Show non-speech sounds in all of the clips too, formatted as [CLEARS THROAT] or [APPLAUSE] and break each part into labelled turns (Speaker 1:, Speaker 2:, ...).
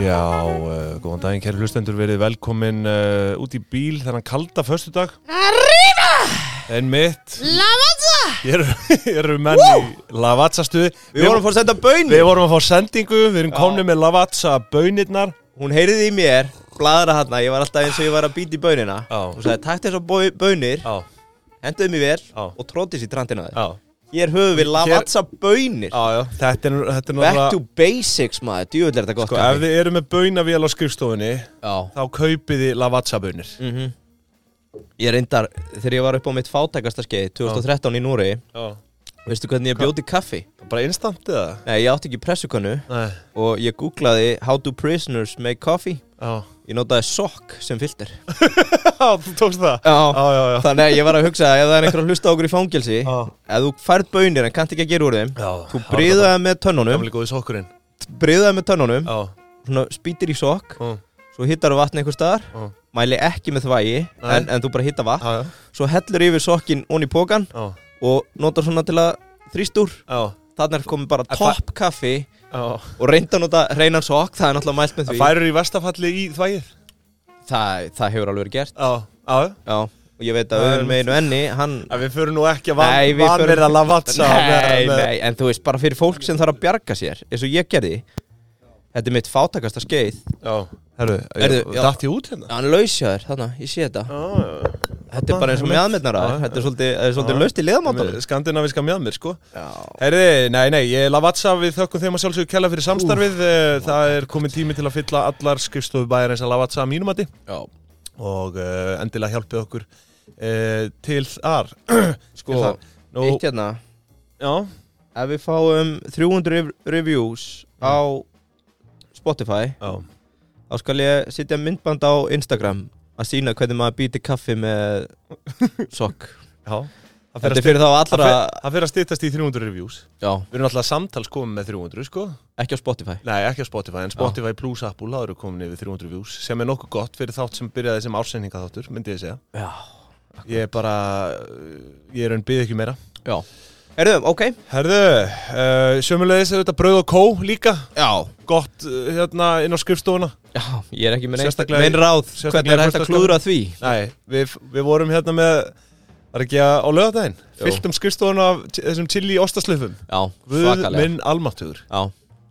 Speaker 1: Já, uh, góðan daginn, kæri hlustendur, verið velkomin uh, út í bíl þennan kalda föstudag
Speaker 2: Arriba!
Speaker 1: En mitt,
Speaker 2: La Mazza!
Speaker 1: ég eru er [LAUGHS] menn í Lavazza-stuði
Speaker 3: Við vorum að fóra að senda bönni
Speaker 1: Við vorum að fá sendingu, við erum komni með Lavazza-bönirnar
Speaker 3: Hún heyrði í mér, bladra hérna Ég var alltaf eins og ég var að býta í bönina
Speaker 1: Já.
Speaker 3: Hún sagði, takt þessar bau- bönir
Speaker 1: Já,
Speaker 3: Henduðu mér vel
Speaker 1: Já.
Speaker 3: og tróttis í trantinu þér
Speaker 1: já,
Speaker 3: Hér höfum við lavatsa bönir
Speaker 1: já, já. Þetta er, nú- þetta er
Speaker 3: Back
Speaker 1: náttúrulega-
Speaker 3: to basics maður, djúvill er þetta gott
Speaker 1: Sko, ef
Speaker 3: kaffi.
Speaker 1: þið eru með bönavél á skrifstofunni,
Speaker 3: Já.
Speaker 1: þá kaupið þið Lavazza-bönir
Speaker 3: Mm. Ég reyndar, þegar ég var upp á mitt fátækasta skeið 2013 í Núri
Speaker 1: Já
Speaker 3: Veistu hvernig ég bjóti kaffi?
Speaker 1: Bara instant eða?
Speaker 3: Nei, ég átti ekki pressukönnu
Speaker 1: Nei,
Speaker 3: og ég googlaði How do prisoners make coffee?
Speaker 1: já
Speaker 3: Ég notaði sokk sem filter
Speaker 1: [LAUGHS] Já, þú tókst það Já, já, já
Speaker 3: Þannig að ég var að hugsa að ef það er einhver að hlusta á okkur í fangelsi
Speaker 1: Já.
Speaker 3: Ef þú færð bönir en kannt ekki að gera úr þeim
Speaker 1: Já,
Speaker 3: Þú bryðu það með tönnunum
Speaker 1: Gamli góði sokkurinn
Speaker 3: Bryðu það með tönnunum
Speaker 1: Já,
Speaker 3: Svona spýtir í sokk
Speaker 1: já,
Speaker 3: Svo hittar þú vatn einhver staðar
Speaker 1: já,
Speaker 3: Mæli ekki með þvægi
Speaker 1: Nei.
Speaker 3: en, en þú bara hittar vatn
Speaker 1: já, já,
Speaker 3: Svo hellur yfir sokkin onni í pókan
Speaker 1: já,
Speaker 3: Og notar svona til að þrýst úr
Speaker 1: já,
Speaker 3: Þannig er komið bara
Speaker 1: En
Speaker 3: topp kaffi
Speaker 1: já.
Speaker 3: Og reynda að nota reynan sokk Það er náttúrulega mælt með
Speaker 1: Það
Speaker 3: því
Speaker 1: færur í vestafalli í þvægið
Speaker 3: það, það hefur alveg verið gert
Speaker 1: Já, já
Speaker 3: Já Og ég veit að
Speaker 1: Það er
Speaker 3: öðrum meginu enni Hann
Speaker 1: En við förum nú ekki að
Speaker 3: Nei,
Speaker 1: van,
Speaker 3: við förum-
Speaker 1: vanverða lavatsa
Speaker 3: Nei, nei, en þú veist, bara fyrir fólk sem þarf að bjarga sér eins og ég gerði Þetta er mitt fátakasta skeið
Speaker 1: Já, herru,
Speaker 3: Heyrðu, já.
Speaker 1: dætt ég út hérna?
Speaker 3: Hann lausjaður, þarna, ég sé þetta
Speaker 1: Já,
Speaker 3: Þetta er bara eins og með aðmyndnara
Speaker 1: Já, já.
Speaker 3: Þetta er svolítið, það er svolítið laust í liðamátanum
Speaker 1: já Skandinaviska mjöðmir, sko
Speaker 3: Já
Speaker 1: Herri, nei, nei, ég lavatsa við þökkum þeim að sjálfsögur kella fyrir samstarfið uh, Það er komið tími til að fylla allar skrifstofu bæjarins að lavatsa að mínumati og uh, endilega hjálpið okkur uh, til þar [CLEARS THROAT] sko,
Speaker 3: Það-
Speaker 1: nú,
Speaker 3: Eitt hérna
Speaker 1: já,
Speaker 3: Ef við fáum 300 rev- reviews á Spotify
Speaker 1: já,
Speaker 3: þá skal ég sitja myndband á Instagram að sína hvernig maður býti kaffi með [LAUGHS] sokk
Speaker 1: já það
Speaker 3: Þetta
Speaker 1: fer
Speaker 3: er
Speaker 1: að, styr,
Speaker 3: fyrir þá allra
Speaker 1: það fer að styrtast í 300 reviews
Speaker 3: Já,
Speaker 1: við erum alltaf samtals komið með 300 sko
Speaker 3: ekki á Spotify
Speaker 1: nei, ekki á Spotify, en Spotify plus Apple það eru komin yfir 300 reviews sem er nokkuð gott fyrir þátt sem byrjaði sem ársendinga þáttur myndi ég segja,
Speaker 3: Já
Speaker 1: ég er bara uh, ég er enn byggð ekki meira
Speaker 3: Já Herðum, ok
Speaker 1: Herðu, uh, sömulegis er þetta brauð og kó líka
Speaker 3: Já
Speaker 1: gott uh, hérna inn á skrifstofuna
Speaker 3: Já, ég er ekki með neitt
Speaker 1: Sérstaklega-
Speaker 3: Mein ráð,
Speaker 1: sérstaklega
Speaker 3: hvernig er hægt að
Speaker 1: föstudagskvöld.
Speaker 3: klúðra því
Speaker 1: Nei, við, við vorum hérna með Var ekki að á lögadaginn
Speaker 3: Jú.
Speaker 1: Fylltum skrifstofun um af t- þessum chili ostaslöfum
Speaker 3: Já,
Speaker 1: Guð
Speaker 3: svakalega
Speaker 1: minn almáttugur
Speaker 3: Já,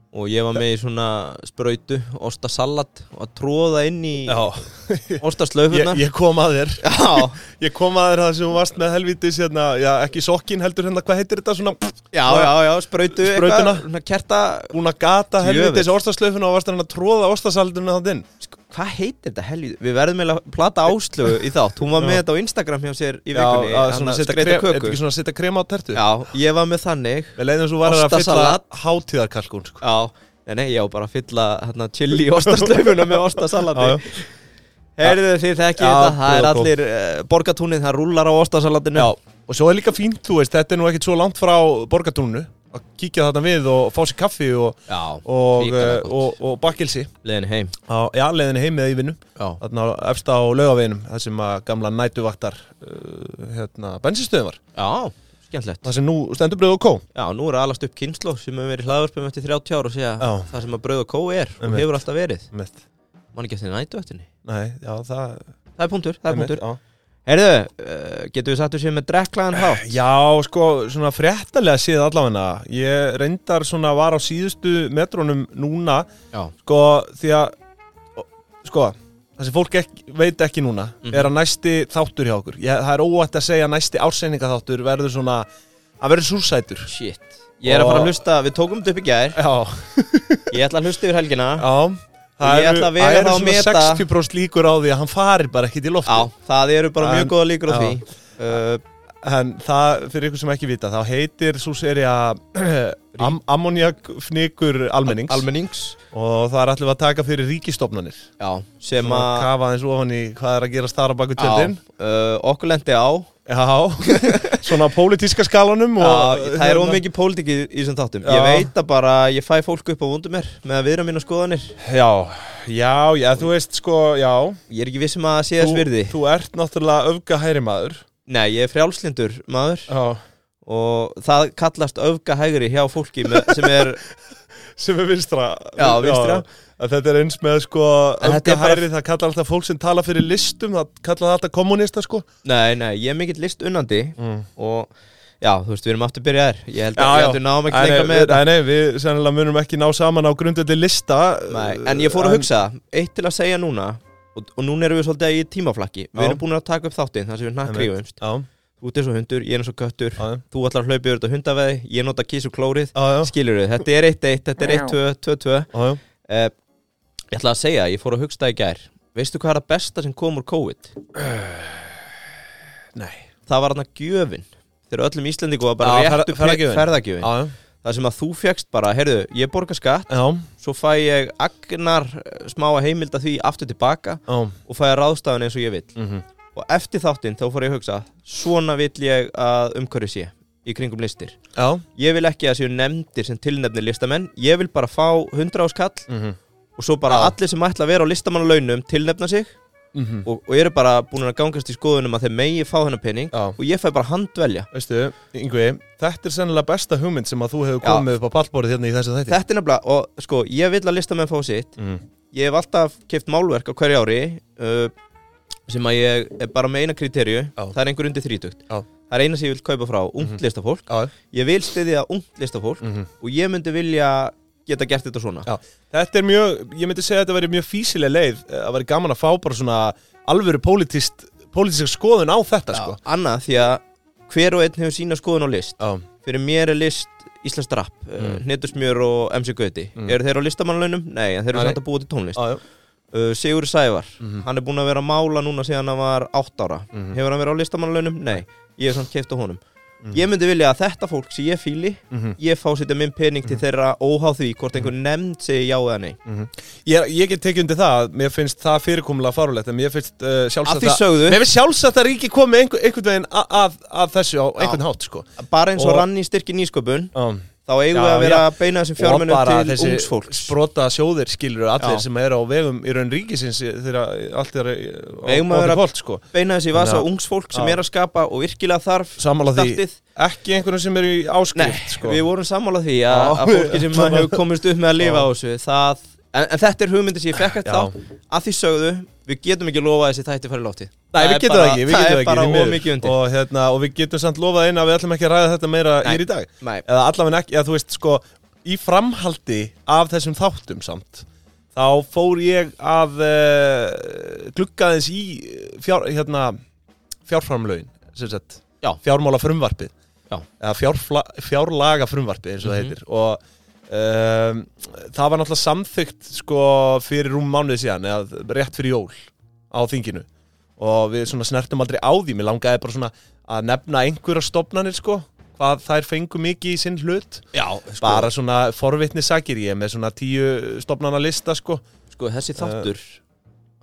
Speaker 3: og ég var með í svona sprautu, ostasalat og að tróða inn í
Speaker 1: ég,
Speaker 3: ostaslaufunar
Speaker 1: ég kom að þér
Speaker 3: Já,
Speaker 1: Ég kom að þér það sem þú varst með helvítis hérna, já, Ekki sokkin heldur hérna, hvað heitir þetta svona
Speaker 3: já, já, já, sprautu
Speaker 1: Sprautuna.
Speaker 3: eitthvað, svona kerta
Speaker 1: Búin að gata
Speaker 3: Djöfull.
Speaker 1: helvítis ostaslöfun og varst hérna að tróða ostasaldurinn þátt inn
Speaker 3: Sko, Hvað heitir þetta helvið? Við verðum eiginlega að plata áslögu í þátt Hún var með þetta á Instagram hjá sér í vikunni
Speaker 1: að
Speaker 3: hann
Speaker 1: svona
Speaker 3: að
Speaker 1: setja
Speaker 3: skreyta
Speaker 1: krem- er þetta
Speaker 3: köku.
Speaker 1: ekki svona að setja krema á tertu
Speaker 3: Já, ég var með þannig
Speaker 1: Við leiðum svo var að fylla
Speaker 3: Ostasalat.
Speaker 1: hátíðarkalkun sko.
Speaker 3: Já, nei, nei, ég á bara að fylla hérna, chili í ostaslaufuna með
Speaker 1: Já, já.
Speaker 3: ostasalati Heyrðu þið þekkið
Speaker 1: Já,
Speaker 3: þetta, það er
Speaker 1: brúðarkók.
Speaker 3: allir uh, borgatúnið, það rúlar á ostasalatinu
Speaker 1: Já, og svo er líka fínt, þú veist, þetta er nú ekkit svo langt frá borgatúnu að kíkja þarna við og fá sér kaffi og,
Speaker 3: já
Speaker 1: og,
Speaker 3: hrikalega
Speaker 1: eh,
Speaker 3: gott.
Speaker 1: og, og bakkelsi
Speaker 3: Leiðin heim
Speaker 1: á já, leiðinni heim eða í vinnu
Speaker 3: Já,
Speaker 1: þarna á- efst á laugaveginum, þar sem að gamla nætuvaktar uh, hérna, bensinstöðum var
Speaker 3: já skemmtilegt
Speaker 1: þar sem nú stendur bröð og kó
Speaker 3: Já, nú er alast upp kynslo sem hefur verið hlaðvarpum eftir 30 ár og segja
Speaker 1: Já.
Speaker 3: það sem að brauð og kó er og
Speaker 1: Einmitt.
Speaker 3: hefur alltaf verið
Speaker 1: Einmitt.
Speaker 3: Man ekki eftir nætuvöktinni
Speaker 1: Nei, já, það
Speaker 3: Það er punktur, það er
Speaker 1: einmitt,
Speaker 3: punktur
Speaker 1: já.
Speaker 3: Heyrðu, uh, getum við satt úr sér með drekklaðan hátt?
Speaker 1: Eh, Já, sko, svona fréttalega séð allavegna Ég reyndar svona var á síðustu metrónum núna
Speaker 3: Já,
Speaker 1: Sko, því að Sko, það sem fólk ekki, veit ekki núna
Speaker 3: Mhm.
Speaker 1: Er að næsti þáttur hjá okkur ég, Það er óætt að segja að næsti árseininga þáttur Verður svona, að verður súrsætur
Speaker 3: shit Ég er að fara
Speaker 1: Og-
Speaker 3: að hlusta, við tókum þetta upp í gær
Speaker 1: Já,
Speaker 3: Ég ætla að hlusta yfir helgina
Speaker 1: já
Speaker 3: Ég ætla að vega
Speaker 1: það eru
Speaker 3: þá að
Speaker 1: svona
Speaker 3: meta-
Speaker 1: 60% líkur á því að hann farir bara ekki til lofti
Speaker 3: Já, það eru bara
Speaker 1: En-
Speaker 3: mjög góða líkur á
Speaker 1: já.
Speaker 3: því uh,
Speaker 1: En það, fyrir ykkur sem ekki vita Þá heitir sú serja am Ammoniak fnykur almennings
Speaker 3: Almennings
Speaker 1: Og það er allir að taka fyrir ríkistofnanir
Speaker 3: Já, sem
Speaker 1: Svona
Speaker 3: að
Speaker 1: kafa eins ofan í hvað er að gera starra baku
Speaker 3: Já,
Speaker 1: tjöldin
Speaker 3: uh, Okkur lendi á [LAUGHS]
Speaker 1: Já, svona á pólitíska skalanum
Speaker 3: Já,
Speaker 1: og, hérna.
Speaker 3: Það er ómikið pólitík í í þessum þáttum Ég
Speaker 1: Já.
Speaker 3: veit að bara, ég fæ fólk upp á vundum mér með að viðra mína skoðanir
Speaker 1: Já, já, já, þú veist sko, já
Speaker 3: Ég er ekki viss um að það sé þess virði
Speaker 1: Þú ert náttúrulega öfga hæri maður
Speaker 3: Nei, ég er frjálslindur maður
Speaker 1: Já.
Speaker 3: og það kallast öfgahægri hjá fólki með, sem er
Speaker 1: [LAUGHS] sem er vinstra
Speaker 3: Já, vinstra.
Speaker 1: að þetta er eins með sko
Speaker 3: En þetta er bara-
Speaker 1: öfgahæri, það kallar alltaf fólk sem tala fyrir listum það kallar það alltaf kommunista sko
Speaker 3: Nei, nei, ég er mikill listunandi og já, þú veist, við erum aftur byrjaðir Ég held að ég
Speaker 1: Mm. Já, já.
Speaker 3: held við náum ekki lengra
Speaker 1: Nei, nei,
Speaker 3: með
Speaker 1: við-
Speaker 3: þetta
Speaker 1: Nei, nei, við sennilega munum ekki ná saman á grundvelli lista
Speaker 3: Nei, En ég fór að hugsa, eitt til að segja núna og, og núna erum við svolítið í tímaflakki Við
Speaker 1: Já.
Speaker 3: erum búin að taka upp þáttinn þar sem við nakkriðumst
Speaker 1: Já,
Speaker 3: Þú ert eins og hundur, ég er eins og köttur
Speaker 1: já,
Speaker 3: Þú ætlar að hlaupa yfir þetta hundaveði, ég nota kísu klórið
Speaker 1: já, já,
Speaker 3: Skilur við, þetta er 1-1, þetta er 1-2-2-2
Speaker 1: já, já.
Speaker 3: Eh, Ég ætla að segja, ég fór að hugsta í gær Veistu hvað er það besta sem kom úr COVID?
Speaker 1: Eh, Nei
Speaker 3: Það var hann að gjöfin Þegar öllum Íslendingu var bara
Speaker 1: Já,
Speaker 3: réttu
Speaker 1: ferða- ferðagjöfin.
Speaker 3: ferðagjöfin
Speaker 1: Já, já,
Speaker 3: Það sem að þú fegst bara, heyrðu, ég borga skatt
Speaker 1: já,
Speaker 3: Svo fæ ég agnar eh, smáa heimilda því aftur tilbaka
Speaker 1: já
Speaker 3: Og fæ að ráðstafan eins og ég vill
Speaker 1: mhm.
Speaker 3: Og eftir þáttinn þá fór ég að hugsa Svona vill ég að umhverju sé Í kringum listir
Speaker 1: Já,
Speaker 3: Ég vil ekki að séu nefndir sem tilnefni listamenn Ég vil bara fá 100 áskall
Speaker 1: mhm,
Speaker 3: Og svo bara allir sem ætla að vera á listamannalaunum Tilnefna sig
Speaker 1: mhm
Speaker 3: og, og eru bara búin að gangast í skoðunum að þeir megi fá þennan pening
Speaker 1: Já.
Speaker 3: og ég fæ bara handvelja
Speaker 1: Veistu, Yngvi, þetta er sennilega besta hugmynd sem að þú hefur
Speaker 3: Já.
Speaker 1: komið upp á pallborðið hérna í þessu þætti
Speaker 3: þetta er nefnilega, og sko, ég vil að listamenn fá sitt
Speaker 1: mm.
Speaker 3: ég hef alltaf keft málverk á hverju ári uh, sem að ég er bara með eina kriterju
Speaker 1: Já.
Speaker 3: það er einhver undir þrítugt
Speaker 1: Já.
Speaker 3: það er eina sem ég vil kaupa frá, ungt listafólk
Speaker 1: Já,
Speaker 3: ég vil styðja ungt listafólk
Speaker 1: mhm
Speaker 3: og ég myndi vilja geta gert þetta svona
Speaker 1: Já, þetta er mjög, ég myndi segja að þetta væri mjög físileg leið eh, að væri gaman að fá bara svona alvöru politist, politisk skoðun á þetta sko
Speaker 3: annað því að hver og einn hefur sína skoðun á list
Speaker 1: Já,
Speaker 3: fyrir mér er list Íslands drapp, mm. Hnetusmjör og MC Gauti Eru þeir á listamannlaunum? Nei, en þeir eru
Speaker 1: Mm. Nei. Mhm.
Speaker 3: samt að búa til tónlist
Speaker 1: já, já,
Speaker 3: uh, Sigur Sævar, hann er búinn að vera að mála núna síðan hann var 8 ára
Speaker 1: Mhm.
Speaker 3: hefur hann verið á listamannalaunum? Nei, ég hef samt keift á honum ég myndi vilja að þetta fólk sem ég fíli
Speaker 1: Mhm.
Speaker 3: ég fá sýtja minn pening til þeirra óháð því hvort einhver nefnd segi já eða nei
Speaker 1: Mhm. Ég, ég get tekið undir það, að mér finnst það fyrirkomulega farulegt en mér finnst uh,
Speaker 3: að
Speaker 1: sjálfsagt
Speaker 3: því sögðu,
Speaker 1: Mér finnst sjálfsagt að ríki komið einhver, einhvern veginn a- að, að þessu á einhvern hátt sko
Speaker 3: bara eins og,
Speaker 1: Og-
Speaker 3: rann í styrki nýsköpun
Speaker 1: um.
Speaker 3: þá eigum við
Speaker 1: Já,
Speaker 3: að vera
Speaker 1: já.
Speaker 3: að beina þessum fjármunum til ungs fólks
Speaker 1: sprota sjóðir skilur allir
Speaker 3: Já.
Speaker 1: sem eru á vegum í raun ríkisins eh, þegar allt er eh, á
Speaker 3: Eigum að vera-
Speaker 1: bóði kvöld sko
Speaker 3: beina þessi vasa
Speaker 1: Þannig að-
Speaker 3: ungs fólk sem
Speaker 1: Já.
Speaker 3: er að skapa og virkilega þarf
Speaker 1: Sammála því,
Speaker 3: startið.
Speaker 1: ekki einhvern sem eru í áskrift
Speaker 3: Nei,
Speaker 1: sko.
Speaker 3: við vorum sammála því að,
Speaker 1: Já,
Speaker 3: að fólki sem
Speaker 1: allavega.
Speaker 3: hefur komist upp með að lifa á þessu það, en, en þetta er hugmyndi sem ég fekk
Speaker 1: Já.
Speaker 3: eftir þá að því sögðu, við getum ekki lofa þessi þætti fara í lofti
Speaker 1: Nei, við getum það ekki, við getum
Speaker 3: það
Speaker 1: það
Speaker 3: er
Speaker 1: ekki
Speaker 3: bara
Speaker 1: því miður.
Speaker 3: ómikið undir
Speaker 1: og, hérna, og við getum samt lofað einn að við ætlum ekki að ræða þetta meira
Speaker 3: Nei.
Speaker 1: hér í dag
Speaker 3: Nei.
Speaker 1: Eða allavega ekki, eða þú veist sko Í framhaldi af þessum þáttum samt Þá fór ég að uh, gluggaðins í fjár, hérna, fjárframlögin sem sagt,
Speaker 3: Já.
Speaker 1: fjármála frumvarpið
Speaker 3: Já. Mhm.
Speaker 1: eða fjárfla, fjárlaga frumvarpið eins og það heitir og um, það var náttúrulega samþygt sko fyrir rúm mánuði síðan eða rétt fyrir jól á þinginu og við svona snertum aldrei á því mér langaði bara svona að nefna einhverja stofnanir sko hvað þær fengu mikið í sinn hlut
Speaker 3: Já, sko,
Speaker 1: bara svona forvitnisakir ég er með svona tíu stofnana lista sko
Speaker 3: sko, þessi þáttur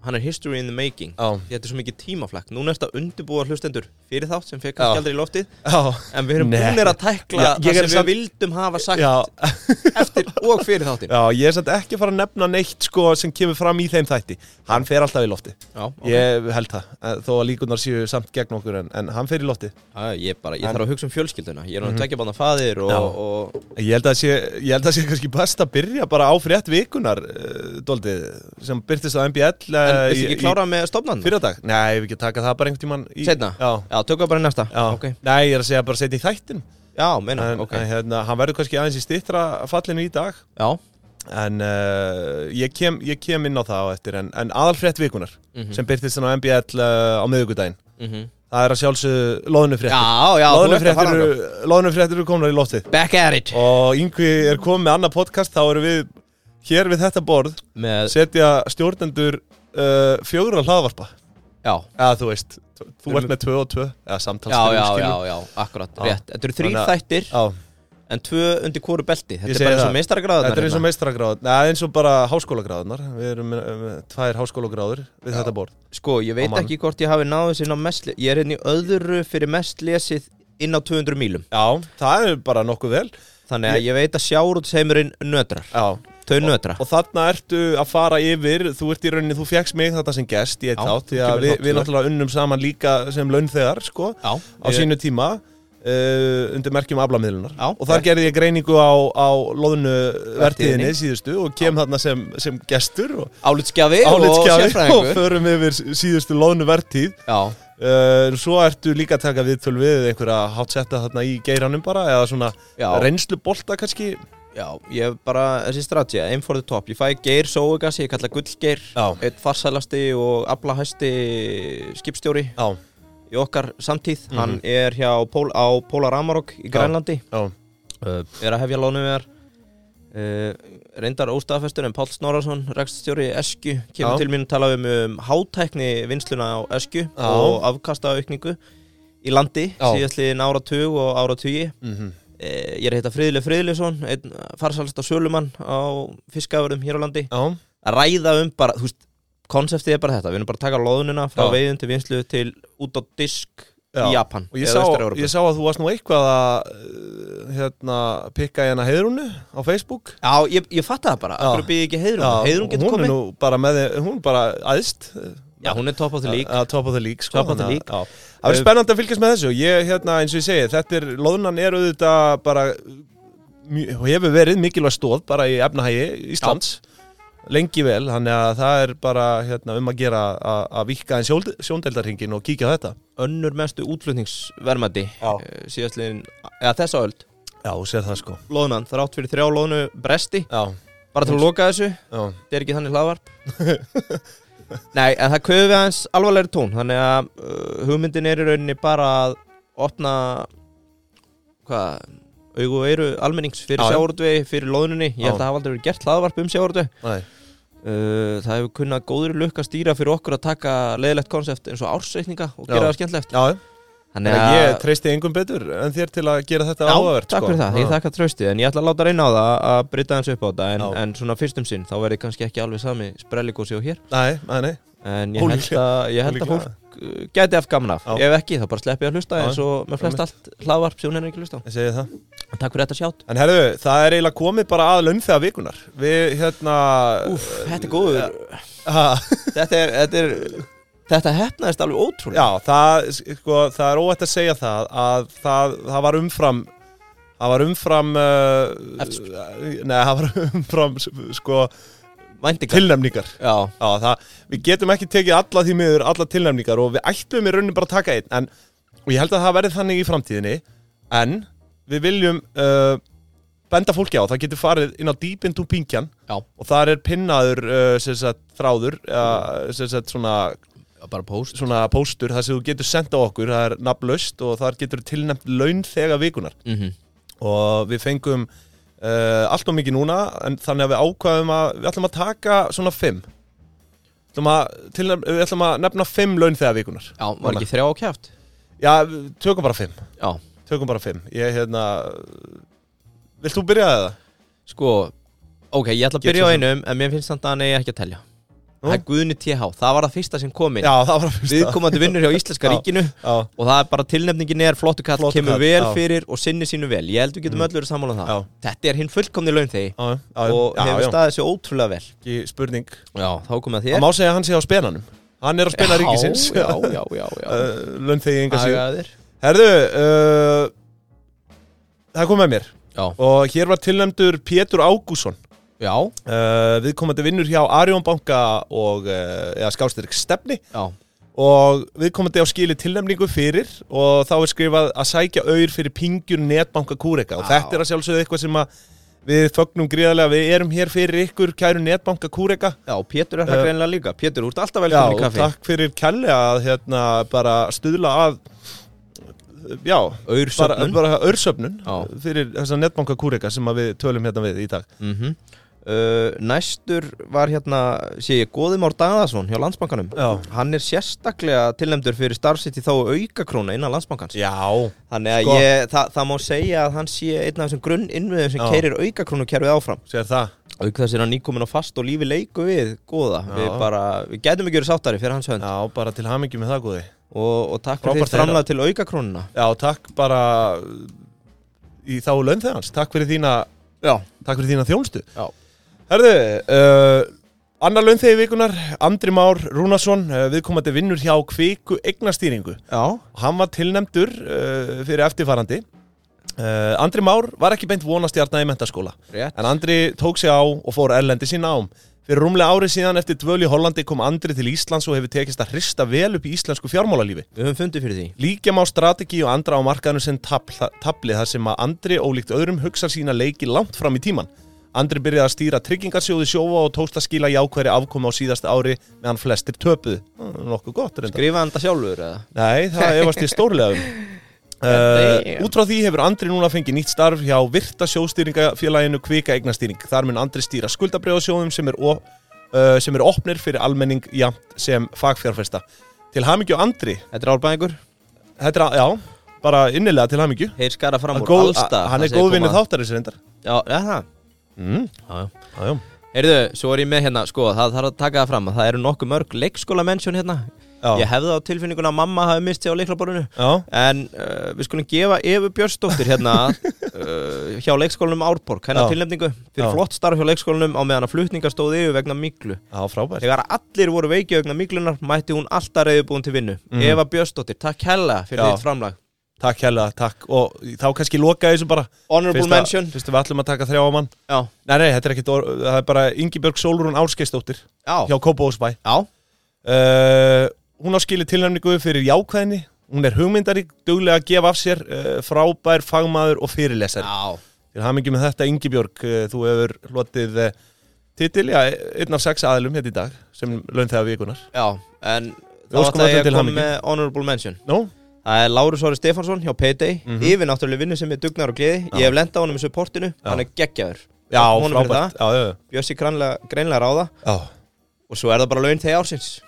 Speaker 3: hann er history in the making
Speaker 1: Já.
Speaker 3: þetta er svo mikið tímaflakk, núna er þetta undirbúa hlustendur fyrir þátt sem fekk
Speaker 1: Já.
Speaker 3: ekki aldrei í loftið
Speaker 1: Já,
Speaker 3: en við erum
Speaker 1: Nei.
Speaker 3: búinir að tækla
Speaker 1: Já,
Speaker 3: það
Speaker 1: ég er
Speaker 3: sem við
Speaker 1: samt-
Speaker 3: vildum hafa sagt
Speaker 1: já,
Speaker 3: eftir og fyrir þáttin
Speaker 1: já, ég er samt ekki að fara að nefna neitt sko sem kemur fram í þeim þætti Hann fer alltaf í lofti
Speaker 3: Já, ok.
Speaker 1: Ég held það, eh, þó að líkunar séu samt gegn okkur en, en hann fer í lofti
Speaker 3: Já, ég, bara, ég þarf að hugsa um fjölskylduna Ég er hann að tvekja banna faðir og,
Speaker 1: Mhm. Já.
Speaker 3: og,
Speaker 1: Ég held að sé, ég held að sé kannski best að byrja bara á frétt vikunar uh, doldið, sem byrtist á MBL
Speaker 3: En
Speaker 1: uh,
Speaker 3: viltu ekki klára með stofnan?
Speaker 1: fyrradag? Nei, við ekki taka það bara einhvern tímann í...
Speaker 3: Seinna?
Speaker 1: Já,
Speaker 3: Já, tökum við bara í næsta
Speaker 1: já.
Speaker 3: Ok.
Speaker 1: Nei, ég er að segja bara setja í þættin
Speaker 3: Já, meina,
Speaker 1: en,
Speaker 3: ok
Speaker 1: en hérna, hann verður kannski aðeins í stittra fallinu í dag
Speaker 3: Já,
Speaker 1: en uh, ég, kem, ég kem inn á það á eftir en, en aðal frétt vikunar
Speaker 3: Mhm.
Speaker 1: sem byrtist á MBL uh, á miðvikudaginn það er að sjálfsögðu
Speaker 3: já,
Speaker 1: loðnufréttir
Speaker 3: Mhm. já þú ert að
Speaker 1: loðnufréttir
Speaker 3: fara þangað.
Speaker 1: eru, loðnufréttir eru komnar í loftið
Speaker 3: Back at it
Speaker 1: og yngvi er komið með annað podcast þá erum við hér við þetta borð
Speaker 3: með,
Speaker 1: setja stjórnendur uh, fjögur að hlaðvarpa
Speaker 3: Já,
Speaker 1: eða þú veist, t- þú ert með tvö og tvö eða samtals
Speaker 3: já,
Speaker 1: þrjú,
Speaker 3: já, já,
Speaker 1: skilur.
Speaker 3: já, akkurat,
Speaker 1: Já.
Speaker 3: rétt Þetta eru þrýr
Speaker 1: Þannig að-
Speaker 3: þættir
Speaker 1: Já,
Speaker 3: en tvö undir hvoru belti Þetta
Speaker 1: Ég
Speaker 3: er
Speaker 1: segi
Speaker 3: bara eins og hérna.
Speaker 1: það.
Speaker 3: meistaragráðunar
Speaker 1: þetta er eins og meistaragráð neða eins og bara háskólagráðunar við erum með, með tvær háskólagráður við þetta borð
Speaker 3: Sko, ég veit
Speaker 1: Á mann.
Speaker 3: ekki hvort ég hafi náðu sinna mest Ég er hérna í öðru fyrir mest lesið inn á 200 mílum
Speaker 1: já, það er bara nokkuð vel
Speaker 3: Þannig að ég veit að sjáur út seimurinn nötrar
Speaker 1: já,
Speaker 3: Þau nötra
Speaker 1: Og þarna ertu að fara yfir, þú ert í rauninni, þú fegst mig þetta sem gest í eitt
Speaker 3: Já,
Speaker 1: átt Því
Speaker 3: kemur
Speaker 1: að við,
Speaker 3: þáttur.
Speaker 1: við náttúrulega unnum saman líka sem launþegar, sko
Speaker 3: Já,
Speaker 1: Á sínu tíma, uh, undir merkjum aflamiðlunar
Speaker 3: Já.
Speaker 1: Og þar gerði ég greiningu á, á loðnu vertíðinni
Speaker 3: Vertíðinni.
Speaker 1: síðustu Og kem þarna sem, sem gestur og
Speaker 3: Álitsgjafi og
Speaker 1: álitskjafi Og
Speaker 3: sérfræðingur
Speaker 1: förum yfir síðustu loðnu vertíð
Speaker 3: Já,
Speaker 1: Uh, svo ertu líka að taka viðtöl við einhverja hátsetta þarna í geiranum bara eða svona
Speaker 3: já,
Speaker 1: reynslubolta kannski
Speaker 3: já, ég hef bara þessi strategi, aim for the top Ég fæ geir sóugasi, ég kalla gullgeir
Speaker 1: Já.
Speaker 3: Eitt farsælasti og aflahæsti skipstjóri
Speaker 1: Já,
Speaker 3: í okkar samtíð Hann er hjá Pól, á Pólar Amarok í Grænlandi
Speaker 1: Mhm. já,
Speaker 3: uh, er að hefja lónum við þar uh, reyndar óstaðfestur en Páll Snorarsson rekststjóri Esku kemur
Speaker 1: Já.
Speaker 3: til mín að tala um, um hátækni vinsluna á Esku
Speaker 1: Já.
Speaker 3: og afkastaaukningu í landi
Speaker 1: Já.
Speaker 3: síðastliðin áratug og áratugi
Speaker 1: mhm,
Speaker 3: uh, ég er að heita Friðli Friðlisson einn farsalasta sölumann á fiskafurðum hér á landi
Speaker 1: já,
Speaker 3: að ræða um bara, þú veist konseptið er bara þetta, við erum bara að taka lóðunina frá
Speaker 1: Já.
Speaker 3: veiðum til vinslu til út á disk
Speaker 1: já
Speaker 3: í Japan
Speaker 1: Og ég
Speaker 3: eða
Speaker 1: sá,
Speaker 3: Austur-Evrópu.
Speaker 1: ég sá að þú varst nú eitthvað að uh, hérna, pikka í hana heiðrúnu á Facebook
Speaker 3: Já, ég, ég fatta það bara,
Speaker 1: Já.
Speaker 3: akkur býði ekki heiðrum heiðrum getur
Speaker 1: hún
Speaker 3: komið
Speaker 1: er nú bara með, hún er bara æðst
Speaker 3: Já, hún er top of the league
Speaker 1: Að top of the league, sko
Speaker 3: Top of the
Speaker 1: þannig
Speaker 3: league.
Speaker 1: að- já. Það er spennandi að fylgjast með þessu Ég, hérna, eins og ég segi, þetta er, loðunan er auðvitað bara mjö- og hefur verið mikilvæg stóð bara í efnahægi Íslands lengi vel, þannig að það er bara hérna, um að gera að, að vikka en sjóld, sjóndeldarhingin og kíkja á þetta
Speaker 3: Önnur mestu útflutningsvermæti
Speaker 1: Já.
Speaker 3: eh, síðastliðin, eða þessa öld
Speaker 1: Já, þú sér það sko
Speaker 3: Lóðunan, það er átt fyrir þrjá lóðunu bresti
Speaker 1: Já,
Speaker 3: Bara til að loka þessu,
Speaker 1: já,
Speaker 3: þetta er ekki þannig hlaðvarp [LAUGHS] Nei, en það köfum við aðeins alvarlegri tón Þannig að uh, hugmyndin er í rauninni bara að opna Hvað, augu og eiru almennings fyrir
Speaker 1: Já, já.
Speaker 3: sjávartvegi, fyrir lóðunni Ég
Speaker 1: Já.
Speaker 3: held að það hafa aldrei verið gert hlaðvarp um sjávartvegi
Speaker 1: nei
Speaker 3: Uh, það hefur kunnað góður lukka stýra fyrir okkur að taka leiðilegt konsept eins og ársreikninga og gera
Speaker 1: Já.
Speaker 3: það skemmtlegt
Speaker 1: Já,
Speaker 3: Þannig
Speaker 1: Nei, ég treysti engum betur en þér til að gera þetta áhugavert
Speaker 3: takk
Speaker 1: sko.
Speaker 3: fyrir það, ég
Speaker 1: Já.
Speaker 3: þakka tröstið en ég ætla að láta reyna á það að brytta hans upp á þetta en,
Speaker 1: Já.
Speaker 3: en svona fyrst um sinn, þá verði kannski ekki alveg sami sprelligósi og hér
Speaker 1: Nei, nei, nei
Speaker 3: en ég held
Speaker 1: Ólíklega.
Speaker 3: að, ég held að
Speaker 1: Ólíklega.
Speaker 3: fólk uh, gæti af gaman af,
Speaker 1: Já.
Speaker 3: ef ekki þá bara sleppi að hlusta
Speaker 1: Já,
Speaker 3: eins og með flest allt hlaðvarp sem hún er ekki að hlusta á.
Speaker 1: Ég segi það
Speaker 3: En Takk fyrir þetta sjátt
Speaker 1: En herðu, það er eiginlega komið bara að laun þegar vikunar Við, hérna
Speaker 3: Úf, þetta er góður
Speaker 1: ha,
Speaker 3: Þetta er, þetta er Þetta hefnaðist alveg ótrúlega
Speaker 1: Já, það, sko, það er óætt að segja það að það, það var umfram það var umfram uh,
Speaker 3: Eftirspurn.
Speaker 1: Nei, það var [LAUGHS] umfram sko,
Speaker 3: Væntingar
Speaker 1: tilnefningar
Speaker 3: Já,
Speaker 1: Já, það, við getum ekki tekið alla því miður, alla tilnefningar og við ætlum í rauninni bara að taka einn en, og ég held að það verði þannig í framtíðinni en við viljum uh, benda fólki á, það getur farið inn á dýpind úr pingjan
Speaker 3: Já.
Speaker 1: og þar er pinnaður uh, sem sagt, þráður uh, sem sagt, svona,
Speaker 3: bara post
Speaker 1: svona póstur þar sem þú getur senda okkur, það er nafnlaust og þar getur tilnefnt laun þegar vikunar
Speaker 3: mm
Speaker 1: og við fengum uh, allt og mikið núna en þannig að við ákvaðum að við ætlum að taka svona fimm ætlum að, til, við ætlum að nefna fimm laun þegar vikunar
Speaker 3: Já, var ekki þrjá á kjæft
Speaker 1: já, við tökum bara fimm
Speaker 3: Já,
Speaker 1: tökum bara fimm ég hérna vilt þú byrja það?
Speaker 3: Sko, ok, ég ætla að
Speaker 1: Get
Speaker 3: byrja á
Speaker 1: svo sem.
Speaker 3: einum En mér finnst þannig að hann eigi ekki að telja
Speaker 1: Nú?
Speaker 3: Það er Guðni TH, það var það fyrsta sem kom inn
Speaker 1: já, það var að fyrsta
Speaker 3: Viðkomandi vinnur hjá Íslenska
Speaker 1: Já.
Speaker 3: ríkinu
Speaker 1: já,
Speaker 3: Og það er bara tilnefningin er flottu kall
Speaker 1: Flottur
Speaker 3: Kemur
Speaker 1: kall,
Speaker 3: vel
Speaker 1: já.
Speaker 3: fyrir og sinni sínu vel Ég held við getum öll verið sammála um það
Speaker 1: Já.
Speaker 3: Þetta er hinn fullkomni laun þegi
Speaker 1: já, já,
Speaker 3: Og
Speaker 1: já,
Speaker 3: hefur
Speaker 1: já,
Speaker 3: staðið sér ótrúlega vel
Speaker 1: ekki spurning
Speaker 3: Já, þá komið að
Speaker 1: það
Speaker 3: þér
Speaker 1: má segja að hann sé á spenanum hann er á spena ríkisins [LAUGHS] Eh,
Speaker 3: Já, já, já, [LAUGHS] já, já.
Speaker 1: laun þegar enga síðan
Speaker 3: Agaðir
Speaker 1: herðu uh, það kom með mér
Speaker 3: Já,
Speaker 1: og hér var tilnæmdur Pétur Ágússon
Speaker 3: já,
Speaker 1: uh, viðkomandi vinnur hjá Arjón Banka og uh, eða skástyrk stefni
Speaker 3: já
Speaker 1: og viðkomandi á skili tilnefningu fyrir og þá er skrifað að sækja auður fyrir pingjur netbanka kúreka og
Speaker 3: Já.
Speaker 1: þetta er að sjálfsögðu eitthvað sem að við fögnum gríðarlega, við erum hér fyrir ykkur kæru netbanka kúreka
Speaker 3: Já, Pétur er það
Speaker 1: Eh,
Speaker 3: greinlega líka Pétur, þú ert alltaf
Speaker 1: Já,
Speaker 3: velkomin
Speaker 1: og
Speaker 3: í kaffi
Speaker 1: takk fyrir kelli að hérna bara stuðla að já, bara,
Speaker 3: Aursöfnun
Speaker 1: bara örsöfnun
Speaker 3: Já.
Speaker 1: fyrir þessa netbanka kúreka sem að við tölum hérna við í dag
Speaker 3: mm uh, Næstur var hérna sé ég Góðimár Daðarsson hjá Landsbankanum
Speaker 1: Já.
Speaker 3: Hann er sérstaklega tilnæmdur fyrir starfsitt í þá aukakróna innan Landsbankans
Speaker 1: Já,
Speaker 3: Þannig að
Speaker 1: Sko.
Speaker 3: ég, það, það má segja að hann sé einn af þessum grunn innviðum sem
Speaker 1: Já.
Speaker 3: keirir aukakrónukerfið áfram
Speaker 1: sér það
Speaker 3: Auk þess er hann nýkomin á fast og lífi leiku við Góða
Speaker 1: Já.
Speaker 3: Við bara, við getum ekki verið sáttari fyrir hans hönd
Speaker 1: Já, bara til hamingi með það góði
Speaker 3: og, og takk fyrir
Speaker 1: Frábært
Speaker 3: þitt framlega til aukakrónuna
Speaker 1: Já, takk bara í þá laun þeirrans, takk fyrir þína
Speaker 3: Já,
Speaker 1: takk fyrir þína þjónstu
Speaker 3: Já.
Speaker 1: Herðu, uh, annar laun þegar vikunar, Andri Már Rúnarsson, uh, viðkomandi vinnur hjá Kviku eignastýringu.
Speaker 3: Já,
Speaker 1: Hann var tilnefndur uh, fyrir eftirfarandi. Uh, Andri Már var ekki beint vonastjarnar í mentaskóla,
Speaker 3: rétt
Speaker 1: en Andri tók sig á og fór erlendi sín nám. Fyrir rúmlega ári síðan eftir dvöl í Hollandi kom Andri til Íslands og hefur tekist að hrista vel upp í íslensku fjármálalífi.
Speaker 3: Við höfum fundið fyrir því
Speaker 1: Líkja má strategi og andra á markaðinu sem tabl- tabli þar sem að Andri ólíkt öðrum hugsa sína leiki langt fram í tíman. Andri byrjaði að stýra tryggingarsjóði sjófa og tókst að skila jákværi afkomi á síðasta ári meðan flestir töpuðu. Mm, Nokkuð gott reynda.
Speaker 3: Skrifa hann það sjálfur eða?
Speaker 1: Nei, það efast ég stórlega um.
Speaker 3: Damn.
Speaker 1: Uh, út frá því hefur Andri núna fengið nýtt starf hjá Virta sjóstýringafélaginu Kvika eignastýring. Þar mun Andri stýra skuldabriðasjóðum sem, er o- uh, sem er opnir fyrir almenning jafnt sem fagfjárfesta. Til hamingju Andri,
Speaker 3: Þetta er árbæðingur
Speaker 1: Þetta er, að- já, bara innilega til hamingju
Speaker 3: Heyr skara fram
Speaker 1: Hann,
Speaker 3: úr
Speaker 1: góð,
Speaker 3: alls staðar.
Speaker 1: hann er
Speaker 3: segir
Speaker 1: góð vinni
Speaker 3: koma-
Speaker 1: þáttarins reyndar
Speaker 3: Já, já, það
Speaker 1: mm.
Speaker 3: Já, já
Speaker 1: já, já.
Speaker 3: Heyrðu, svo er ég með hérna, sko, það þarf að taka það fram að það eru nokkuð mörg leikskólamensjón hérna
Speaker 1: Já.
Speaker 3: Ég hefði á tilfinninguna að mamma hafi mist sig á leiklaborinu
Speaker 1: Já.
Speaker 3: En uh, við skulum gefa Efu Björnsdóttir hérna
Speaker 1: [LAUGHS]
Speaker 3: uh, hjá leikskólanum Árborg, hennar
Speaker 1: Já.
Speaker 3: tilnefningu fyrir
Speaker 1: Já.
Speaker 3: flott starf hjá leikskólanum á meðan að flutningar stóð yfir vegna miklu
Speaker 1: já, frábært
Speaker 3: Þegar allir voru veiki vegna miklunar mætti hún alltaf reyðubúin til vinnu
Speaker 1: Mhm.
Speaker 3: Eva Björnsdóttir, takk hella fyrir
Speaker 1: Já.
Speaker 3: þitt framlag
Speaker 1: Takk hérlega, takk Og þá kannski loka ég þessu bara
Speaker 3: Honorable
Speaker 1: Fyrst að-
Speaker 3: mention
Speaker 1: Fyrst að við ætlum að taka þrjá á mann
Speaker 3: Já,
Speaker 1: Nei, nei, þetta er ekkit or- Það er bara Ingibjörg Sólrún Árskeistóttir
Speaker 3: já,
Speaker 1: Hjá Kópavóðsbæ
Speaker 3: já,
Speaker 1: uh, Hún á skilið tilnæmningu fyrir jákvæðinni Hún er hugmyndarík, duglega að gefa af sér uh, Frábær, fagmaður og fyrirlesari
Speaker 3: já.
Speaker 1: Til hamingi með þetta, Ingibjörg, eh, þú hefur hlotið eh, titil, já, einn af sex aðilum hérna í dag, sem laun þegar vikunar.
Speaker 3: já. En þá
Speaker 1: Við
Speaker 3: ætla
Speaker 1: óskum öllum
Speaker 3: ég að
Speaker 1: til
Speaker 3: koma
Speaker 1: hamingju.
Speaker 3: með honorable mention
Speaker 1: Nú?
Speaker 3: Það er Lárus Ári Stefansson hjá Payday mm
Speaker 1: Mhm.
Speaker 3: Yfir náttúrulega vinnu sem er dugnar og gleði Ég
Speaker 1: Já.
Speaker 3: hef lendað honum í supportinu, hann er geggjaður
Speaker 1: Já,
Speaker 3: Honum fyrir
Speaker 1: frábært. Já, já, já.
Speaker 3: Bjössi greinlega, greinlega ráða
Speaker 1: Já,
Speaker 3: Og svo er það bara laun þegar ársins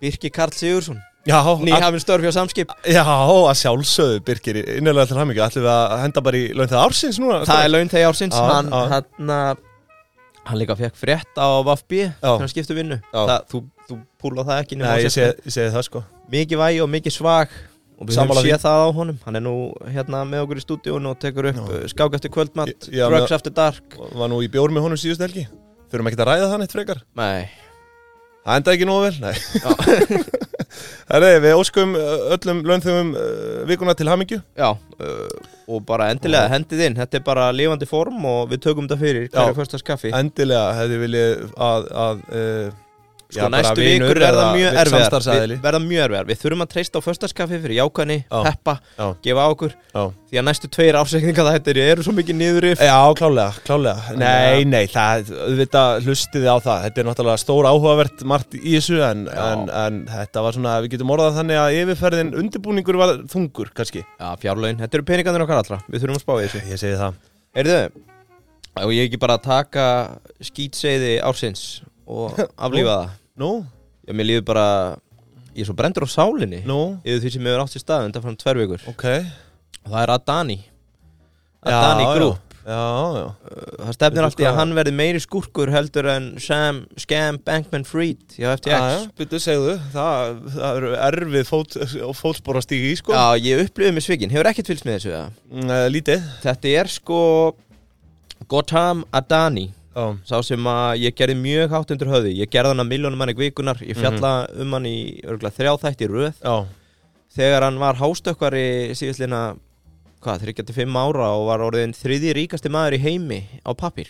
Speaker 3: Birki Karl Sigursson
Speaker 1: já, að,
Speaker 3: Nýhafin störf hjá samskip
Speaker 1: já, að sjálfsögðu, Birgir, innlega til hamingju. Ætlum við að henda bara í laun þegar ársins núna?
Speaker 3: Það er laun þegar ársins
Speaker 1: Já,
Speaker 3: Hann,
Speaker 1: já.
Speaker 3: hann, hann líka fekk frétt á VFB Þegar hann skiptu vinnu
Speaker 1: Já.
Speaker 3: það, þú, þú púla það ekki nema á
Speaker 1: Nei, ég
Speaker 3: sér.
Speaker 1: segi seg það sko.
Speaker 3: Mikið vægi og mikið svag Og við
Speaker 1: Sammála
Speaker 3: höfum
Speaker 1: því.
Speaker 3: séð það á honum Hann er nú hérna með okkur í stúdíun og tekur upp
Speaker 1: Já.
Speaker 3: uh, skák eftir kvöldmatt
Speaker 1: Já,
Speaker 3: Drugs eftir dark
Speaker 1: Var nú í bjór með honum síðust helgi. Þurfum ekki að ræða það neitt frekar.
Speaker 3: Nei
Speaker 1: Það endaði ekki nógu vel, nei.
Speaker 3: Já.
Speaker 1: [LAUGHS] Herri, við óskum eh, öllum launþegum uh, vikuna til hamingju.
Speaker 3: Já, uh, og bara endilega hendið inn Þetta er bara lifandi form og við tökum þetta fyrir
Speaker 1: Já.
Speaker 3: hverju fyrstast kaffi
Speaker 1: Endilega hefði viljið að, að uh,
Speaker 3: Sko næstu vikur verða mjög erfiðar Við- Verða mjög erfiðar Við þurfum að treysta á fyrstaskaffi fyrir jákvæðni,
Speaker 1: Já.
Speaker 3: peppa,
Speaker 1: Já.
Speaker 3: gefa á okkur
Speaker 1: Já.
Speaker 3: Því að næstu tveir afsækninga þetta eru, eru svo mikið niðurif
Speaker 1: Já, klálega, klálega Nei, nei, það, auðvitað hlustiði á það Þetta er náttúrulega stór áhugavert margt í þessu en,
Speaker 3: Já.
Speaker 1: en, en þetta var svona, við getum orðað þannig að yfirferðin undirbúningur var þungur, kannski
Speaker 3: Já, fjárlögin, þetta eru peningarnir okkar allra Við þurfum að spá í þessu
Speaker 1: Ég segi það
Speaker 3: Heyrðu, og ég ekki bara að taka skýtseiði ársins
Speaker 1: [LAUGHS]
Speaker 3: og aflífa það
Speaker 1: Nú,
Speaker 3: Já, mér líður bara, ég er svo brendur á sálinni
Speaker 1: nú,
Speaker 3: Yfir því sem hefur átt í stað undan fram tvær vikur
Speaker 1: ok
Speaker 3: Og það er Adani Adani Group
Speaker 1: Já, já, já,
Speaker 3: Það stefnir
Speaker 1: Veitu
Speaker 3: allt í að
Speaker 1: hvað-
Speaker 3: hann verði meiri skurkur heldur en Sam, Scam, Bankman, Freed Já, FTX
Speaker 1: já, Ah, já Byttu, segðu, það, það eru erfið fót, fótspor að stíga í, sko
Speaker 3: Já, ég upplifði mig svikin, hefur ekkert fylgst með þessu ja.
Speaker 1: Mm, Lítið
Speaker 3: Þetta er sko Gotham Adani
Speaker 1: Já,
Speaker 3: Sá sem að ég gerði mjög hátt undir höfði Ég gerði hann að miljónum manni vikunar
Speaker 1: Mhm.
Speaker 3: Ég fjalla um hann í örgulega þrjáþætti röð
Speaker 1: já,
Speaker 3: Þegar hann var hástökkvari síðustlina Hvað, 35 ára og var orðin þriði ríkasti maður í heimi á pappir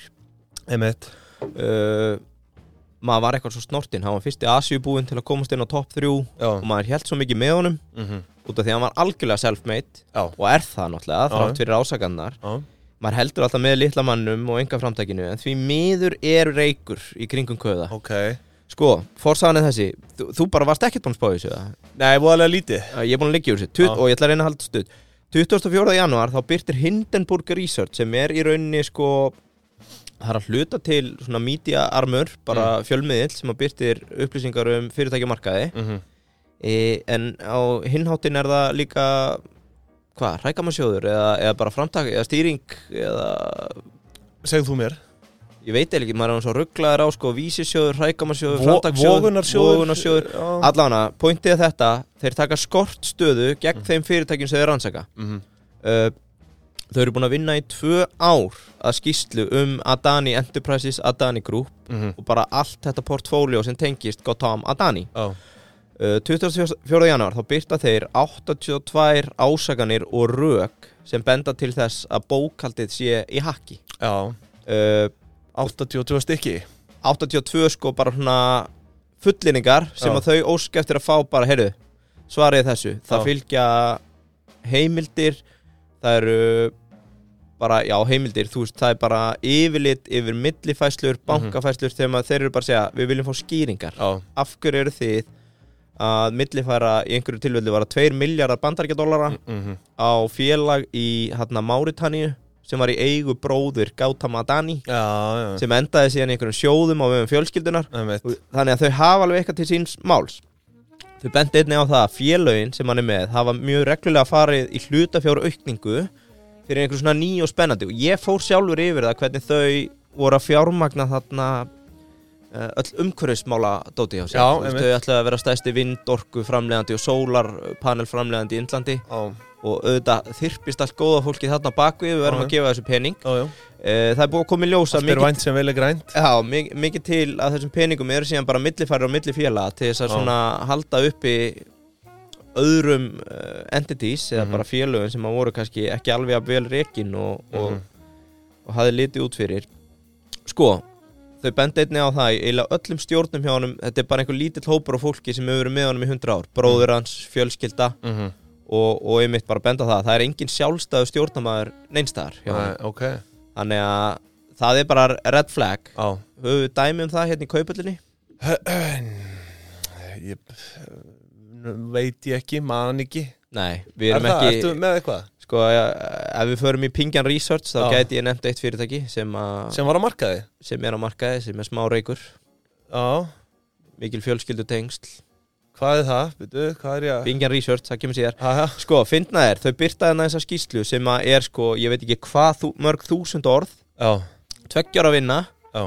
Speaker 1: emitt
Speaker 3: uh, Maður var eitthvað svo snortinn Hann var fyrsti asjubúinn til að komast inn á topp 3
Speaker 1: Já,
Speaker 3: Og maður held svo mikið með honum
Speaker 1: mm
Speaker 3: Út af því að hann var algjörlega self-made
Speaker 1: já,
Speaker 3: Og er það náttúrulega,
Speaker 1: Já.
Speaker 3: þrátt fyrir ásakannar
Speaker 1: já
Speaker 3: maður heldur alltaf með litla mannum og enga framtækinu en því miður er reykur í kringum köða
Speaker 1: Ok
Speaker 3: sko, forsaðan er þessi þú, þú bara varst ekkert búinn að spá í þessu eða?
Speaker 1: Nei, voðalega lítið
Speaker 3: ég er búinn að liggja úr þessu Tut,
Speaker 1: Já.
Speaker 3: og ég ætla að reyna að halda stuð 24. januar þá byrtir Hindenburg Research sem er í rauninni sko það er að hluta til svona media armur bara fjölmiðill sem að byrtir upplýsingar um fyrirtæki og markaði
Speaker 1: mm -hmm.
Speaker 3: e, en á hinháttin er það líka hvað, rækamarsjóður eða, eða bara framtak eða stýring eða
Speaker 1: Segðu þú mér
Speaker 3: ég veit eiginlega ekki, maður er hann svo rugglaður á sko, vísisjóður, hrækamarsjóður,
Speaker 1: Vo-
Speaker 3: framtakssjóður
Speaker 1: vogunarsjóður.
Speaker 3: vogunarsjóður.
Speaker 1: Já.
Speaker 3: allavega, pointið er þetta þeir taka skort stöðu gegn þeim fyrirtækjum sem þeir rannsaka
Speaker 1: Mhm.
Speaker 3: uh, Þau eru búin að vinna í tvö ár að skýslu um Adani Enterprises, Adani Group
Speaker 1: Mhm.
Speaker 3: og bara allt þetta portfóljó sem tengist Gotham Adani.
Speaker 1: Já,
Speaker 3: Uh, 24. januar þá byrta þeir 82 ásakanir og rök sem benda til þess að bókaldið sé í hakki.
Speaker 1: já
Speaker 3: Uh,
Speaker 1: 82 stykki
Speaker 3: 82 sko bara svona fullinningar sem
Speaker 1: Já.
Speaker 3: að þau ósk eftir að fá bara, heyrðu, svarið þessu það
Speaker 1: Já.
Speaker 3: fylgja heimildir það eru bara, já, heimildir, þú veist, það er bara yfirlit yfir millifæslur,
Speaker 1: Mhm.
Speaker 3: bankafæslur þegar maður, þeir eru bara að segja, við viljum fá skýringar
Speaker 1: Já,
Speaker 3: af hverju eru þið að millifæra í einhverju tilfellu var að 2 miljardar bandarækjadólara
Speaker 1: mhm,
Speaker 3: á félag í hérna Máritanníu sem var í eigu bróður Gautam Adani
Speaker 1: já, já
Speaker 3: sem endaði síðan í einhverjum sjóðum á vefum fjölskyldunar
Speaker 1: einmitt.
Speaker 3: Og þannig að þau hafa alveg eitthvað til síns máls þau bendi einnig á það að félögin sem hann er með hafa mjög reglulega farið í hlutafjára aukningu fyrir einhverjum svona ný og spennandi og ég fór sjálfur yfir það hvernig þau voru að fjármagna þarna eh, öll umhverfismála dóti hjá sér
Speaker 1: Já,
Speaker 3: Þú veist,
Speaker 1: einmitt.
Speaker 3: þau ætlaði að vera stæsti vindorku framlegandi og sólarpanel framlegandi í Indlandi
Speaker 1: Já,
Speaker 3: og auðvitað þyrpist allt góða fólki þarna bakvið við verðum
Speaker 1: Já,
Speaker 3: að gefa þessu pening
Speaker 1: já, já
Speaker 3: Eh, það er búið að koma í ljósa
Speaker 1: Allt er vænt sem vel er grænt
Speaker 3: Já, mi- mikið til að þessum peningum eru síðan bara millifæri og millifélaga til þess að
Speaker 1: Já.
Speaker 3: svona halda uppi öðrum uh, entities eða
Speaker 1: Mhm.
Speaker 3: bara félögum sem að voru kannski ekki alveg að vel rekin og, og,
Speaker 1: Mhm.
Speaker 3: og hafi litið út fyrir Sko, þau bendi einni á það í eiginlega öllum stjórnum hjá honum þetta er bara einhver lítill hópur af fólki sem hefur verið með honum í 100 ár bróður hans, fjölskylda
Speaker 1: Mhm.
Speaker 3: og, og einmitt bara benda á það það er engin sjálfstæðu stjórnamaður neinstæðar hjá honum
Speaker 1: Nei, Ok, já
Speaker 3: þannig að það er bara red flag höfum við dæmi um það hérna í kaupöllinni
Speaker 1: Ég veit ég ekki, man ekki
Speaker 3: Nei, við erum
Speaker 1: Er það,
Speaker 3: ekki
Speaker 1: ertu með eitthvað?
Speaker 3: sko, ja, ef við förum í Pingjan Research þá
Speaker 1: Já.
Speaker 3: gæti ég nefnt eitt fyrirtæki sem, a, sem.
Speaker 1: Sem var á markaði?
Speaker 3: er á markaði, sem er smá reykur
Speaker 1: Já,
Speaker 3: mikil fjölskyldu tengsl
Speaker 1: hvað er það? Býtu, hvað er ég að
Speaker 3: Pingjan Research, það kemur síðar
Speaker 1: Haha,
Speaker 3: Sko, fyndna er, þau byrtaði þessa skýslu sem að er sko, ég veit ekki hvað þú, mörg þúsund orð
Speaker 1: já,
Speaker 3: tveggjóra vinna
Speaker 1: já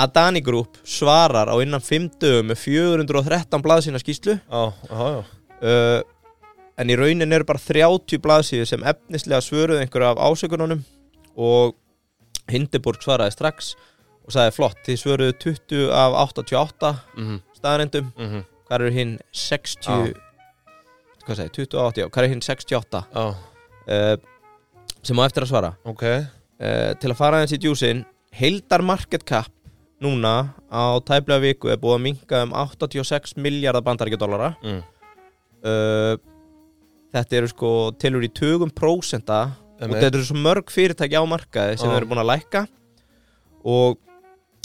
Speaker 3: Adani Group svarar á innan fimm dögum með 413 blaðsýna skýslu
Speaker 1: Já, já, já
Speaker 3: uh, en í raunin eru bara 30 blaðsíður sem efnislega svöruðu einhverju af ásökununum og Hindeborg svaraði strax og sagði flott, þið svöruðu 20 af 88
Speaker 1: Mhm,
Speaker 3: staðarindum
Speaker 1: mhm,
Speaker 3: hvað eru hinn 60 hvað segi, 20 af 88, hvað eru hinn 68
Speaker 1: Já,
Speaker 3: uh, sem á eftir að svara
Speaker 1: ok
Speaker 3: uh, til að fara aðeins í djúsin heildar market cap núna á tæplega viku er búið að minka um 86 miljardar bandaríkjadólara
Speaker 1: Mm,
Speaker 3: uh, þetta eru sko tilur í tögum prósenta og
Speaker 1: einmitt.
Speaker 3: þetta eru svo mörg fyrirtæki á markaði sem
Speaker 1: Já.
Speaker 3: eru búin að lækka og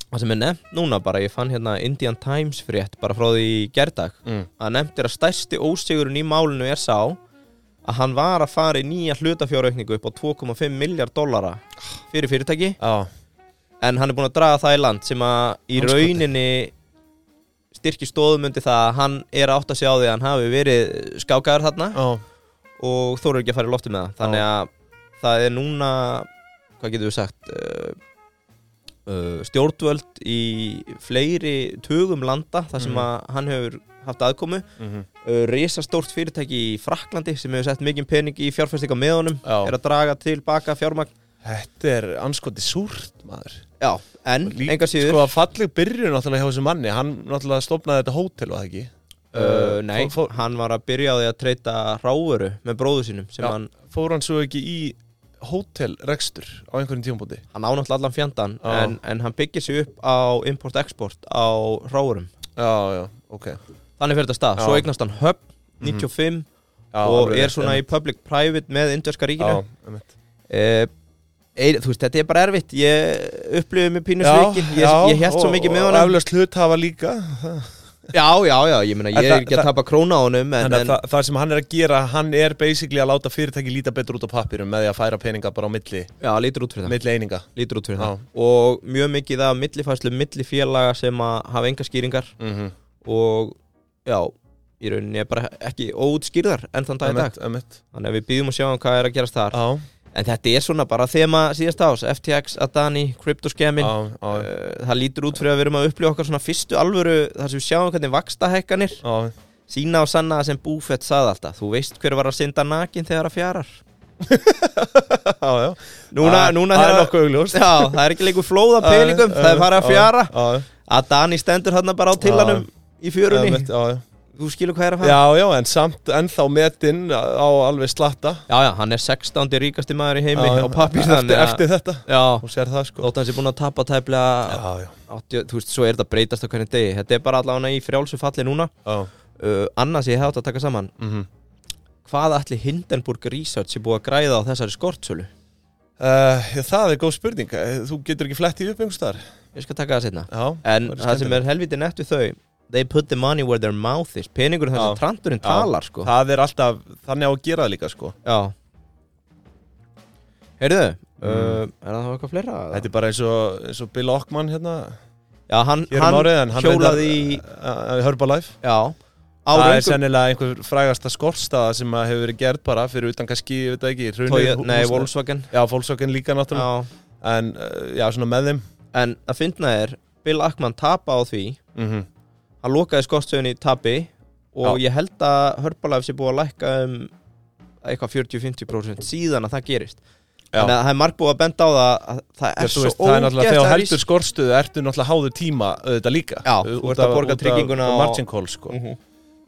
Speaker 3: það sem er nefnt núna bara ég fann hérna Indian Times frétt bara frá því í gerdag
Speaker 1: Mm,
Speaker 3: að nefnt er að stærsti ósigurinn í málinu er sá að hann var að fara í nýja hlutafjáraukningu upp á 2,5 miljard dollara fyrir fyrirtæki
Speaker 1: Já,
Speaker 3: en hann er búin að draga það í land sem að í
Speaker 1: Andskoti.
Speaker 3: rauninni styrki stóðum undir það að hann er átt að sjá því að hann hafi verið skákaður þarna
Speaker 1: já,
Speaker 3: og þó eru ekki að fara í lofti með það þannig að það er núna hvað getur við sagt uh, uh, stjórnvöld í fleiri tugum landa þar sem
Speaker 1: Mhm.
Speaker 3: að hann hefur haft aðkomu
Speaker 1: mhm,
Speaker 3: uh, risastórt fyrirtæki í Fraklandi sem hefur sett mikið pening í fjárfæstinga með honum
Speaker 1: já
Speaker 3: er að draga tilbaka fjármagn
Speaker 1: Þetta er anskoti súrt, maður
Speaker 3: já, en
Speaker 1: Lí-
Speaker 3: enga síður
Speaker 1: Sko að falleg byrjun náttúrulega hjá þessum manni Hann náttúrulega stofnaði þetta hótel og það ekki
Speaker 3: Uh, nei,
Speaker 1: fór, fór,
Speaker 3: hann var að byrja á því að treyta ráveru með bróðu sínum sem
Speaker 1: Já.
Speaker 3: hann,
Speaker 1: fór hann svo ekki í hótelrekstur á einhverjum tímpóti
Speaker 3: hann ánátt allan fjandan
Speaker 1: Já.
Speaker 3: en, en hann byggir sig upp á import-export á ráverum
Speaker 1: Já, já, ok já,
Speaker 3: Þannig fyrir þetta stað,
Speaker 1: Já. Mhm.
Speaker 3: svo eignast hann höfn 95 og er svona í public-private með indverska ríkinu
Speaker 1: Já, einmitt.
Speaker 3: uh, ein, Þú veist, þetta er bara erfitt Ég upplifið mig pínu svikið ég, ég held svo
Speaker 1: og-
Speaker 3: mikið með
Speaker 1: og
Speaker 3: honum
Speaker 1: eflaust hluthafa líka
Speaker 3: Já, já, já, ég meina,
Speaker 1: En
Speaker 3: ég er
Speaker 1: það-
Speaker 3: ekki að
Speaker 1: það-
Speaker 3: tapa króna á honum en,
Speaker 1: Þannig að
Speaker 3: en,
Speaker 1: það, það sem hann er að gera, hann er basically að láta fyrirtæki líta betur út á pappirum með því að færa peninga bara á milli,
Speaker 3: Já, lítur út fyrir það
Speaker 1: milli eininga
Speaker 3: lítur út fyrir
Speaker 1: Já.
Speaker 3: það og mjög mikið af millifæslu, millifélaga sem að hafa enga skýringar
Speaker 1: mm -hmm.
Speaker 3: og já, í rauninni er bara ekki óútskýrðar enn þann dag í dag
Speaker 1: Ömmett
Speaker 3: þannig að við býðum að sjá um hvað er að gerast þar
Speaker 1: Já,
Speaker 3: en þetta er svona bara þema síðast ás FTX, Adani,
Speaker 1: já,
Speaker 3: Cryptoscamming
Speaker 1: já,
Speaker 3: uh, það lítur út fyrir að við erum að upplifa okkar svona fyrstu alvöru þar sem við sjáum hvernig vakstahekkanir
Speaker 1: já
Speaker 3: sína og sanna það sem Buffett saði alltaf þú veist hver var að synda nakin þegar að fjarar
Speaker 1: [LAUGHS] já, já.
Speaker 3: Núna,
Speaker 1: Það-
Speaker 3: núna
Speaker 1: það er
Speaker 3: þegar-
Speaker 1: nokkuð [LAUGHS] augljóst.
Speaker 3: Já, það er ekki leikur flóða peningum, það er farið að fjara
Speaker 1: Já, já.
Speaker 3: Að Dani stendur hann bara á tillanum í fjörunni
Speaker 1: Einmitt, já, já.
Speaker 3: Þú skilur hvað er að fara
Speaker 1: já, já, en samt ennþá metinn á alveg slatta
Speaker 3: Já, já, hann er 16. ríkasti maður í heimi
Speaker 1: Já, já.
Speaker 3: á pappir
Speaker 1: eftir, eftir þetta
Speaker 3: Já,
Speaker 1: Hún sér það sko
Speaker 3: þótt hans er búin að tapa tæplega
Speaker 1: Já, já,
Speaker 3: 80, Þú veist, svo er þetta breytast á hvernig degi Þetta er bara allavega í frjálsu falli núna
Speaker 1: já.
Speaker 3: uh, Annars ég hef átt að taka saman
Speaker 1: Mhm.
Speaker 3: Hvað ætli Hindenburg Research er búið að græða á þessari skortsölu?
Speaker 1: Uh, já, það er góð spurning Eh, Þú getur ekki flett í upp einhvers þar
Speaker 3: Ég skal taka það setna
Speaker 1: Já,
Speaker 3: En
Speaker 1: væri
Speaker 3: það sem
Speaker 1: skemmtilegt.
Speaker 3: er helviti nett við þau They put the money where their mouth is Peningur þess
Speaker 1: Já.
Speaker 3: að tranturinn
Speaker 1: Já.
Speaker 3: talar sko
Speaker 1: það er alltaf Þannig á að gera það líka sko
Speaker 3: Já Heyrðu, uh, er það þá eitthvað fleira?
Speaker 1: Mm. Þetta er bara eins og, eins og Bill Ockman hérna
Speaker 3: Já, hann,
Speaker 1: Hér
Speaker 3: hann
Speaker 1: um árið en hann
Speaker 3: hjólaði í
Speaker 1: í Herbalife
Speaker 3: Já, á
Speaker 1: Það er
Speaker 3: röngum
Speaker 1: sennilega einhver frægasta skortstaða sem að hefur verið gerð bara fyrir utan kannski, ég veit það ekki, hrunið
Speaker 3: Toyo- Nei,
Speaker 1: húsnæði.
Speaker 3: Volkswagen
Speaker 1: Já, Volkswagen líka náttúrulega
Speaker 3: Já.
Speaker 1: En uh, já, svona með þeim
Speaker 3: En að finna er Bill Ackman tapa á því
Speaker 1: mm -hmm.
Speaker 3: Hann lokaði skortstöðun í tapi Og ég held að Herbalife sé búið að lækka um eitthvað 40-50% síðan að það gerist
Speaker 1: Já.
Speaker 3: Þannig að það er margt búið að benda á það að það er
Speaker 1: Já, þú
Speaker 3: svo
Speaker 1: veist, það er náttúrulega þegar þú
Speaker 3: ógeðslega
Speaker 1: heldur skorstuðu ertu náttúrulega háður tíma auðvitað líka
Speaker 3: Já,
Speaker 1: Út
Speaker 3: þú ert að
Speaker 1: af-
Speaker 3: borga
Speaker 1: út af
Speaker 3: trygginguna og-
Speaker 1: margin call sko
Speaker 3: Mhm.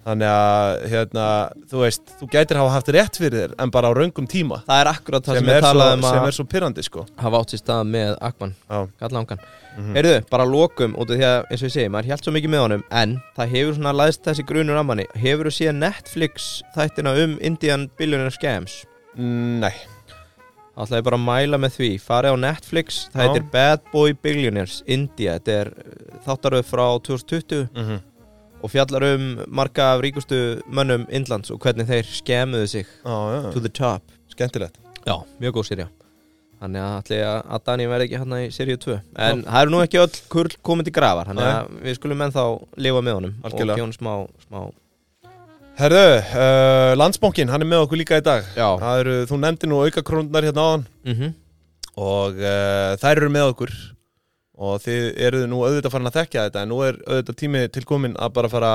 Speaker 1: þannig að hérna, þú veist, þú gætir hafa haft rétt fyrir þér en bara á raungum tíma
Speaker 3: Það er akkurat það
Speaker 1: sem
Speaker 3: sem
Speaker 1: er,
Speaker 3: ég
Speaker 1: svo,
Speaker 3: talaði um
Speaker 1: sem
Speaker 3: að
Speaker 1: er svo pyrrandi sko
Speaker 3: hafa átt sér stað með Akman,
Speaker 1: Já,
Speaker 3: kallangan mm. Heyrðu, bara lokum út af því að eins og ég segi, maður hjælt svo mikið með honum en það hefur svona læðst þessi grunur að manni Hefur þú séð Netflix þættina um Indian Billionaire Scams?
Speaker 1: Mm, nei
Speaker 3: Það ætla ég bara að mæla með því, farið á Netflix, það
Speaker 1: Já.
Speaker 3: heitir Bad Boy Billionaires India, þetta er eh, þáttaröð frá 2020
Speaker 1: mm -hmm.
Speaker 3: og fjallar um marga af ríkustu mönnum Indlands og hvernig þeir skemuðu sig
Speaker 1: já,
Speaker 3: to the top
Speaker 1: skemmtilegt
Speaker 3: Já, mjög góð sérja Þannig að allir að Dani verði ekki hann í sérju 2 En það eru nú ekki öll kurl komin til grafar Þannig að við skulum ennþá lifa með honum
Speaker 1: Algjörlega.
Speaker 3: Og gefa honum smá, smá
Speaker 1: Herðu, uh, landsbankin, hann er með okkur líka í dag
Speaker 3: Já
Speaker 1: Það eru, þú nefndir nú aukakrónunar hérna áðan
Speaker 3: mm
Speaker 1: og uh, þær eru með okkur og þið eruð nú auðvitað farin að þekkja þetta en nú er auðvitað tími tilkomin að bara fara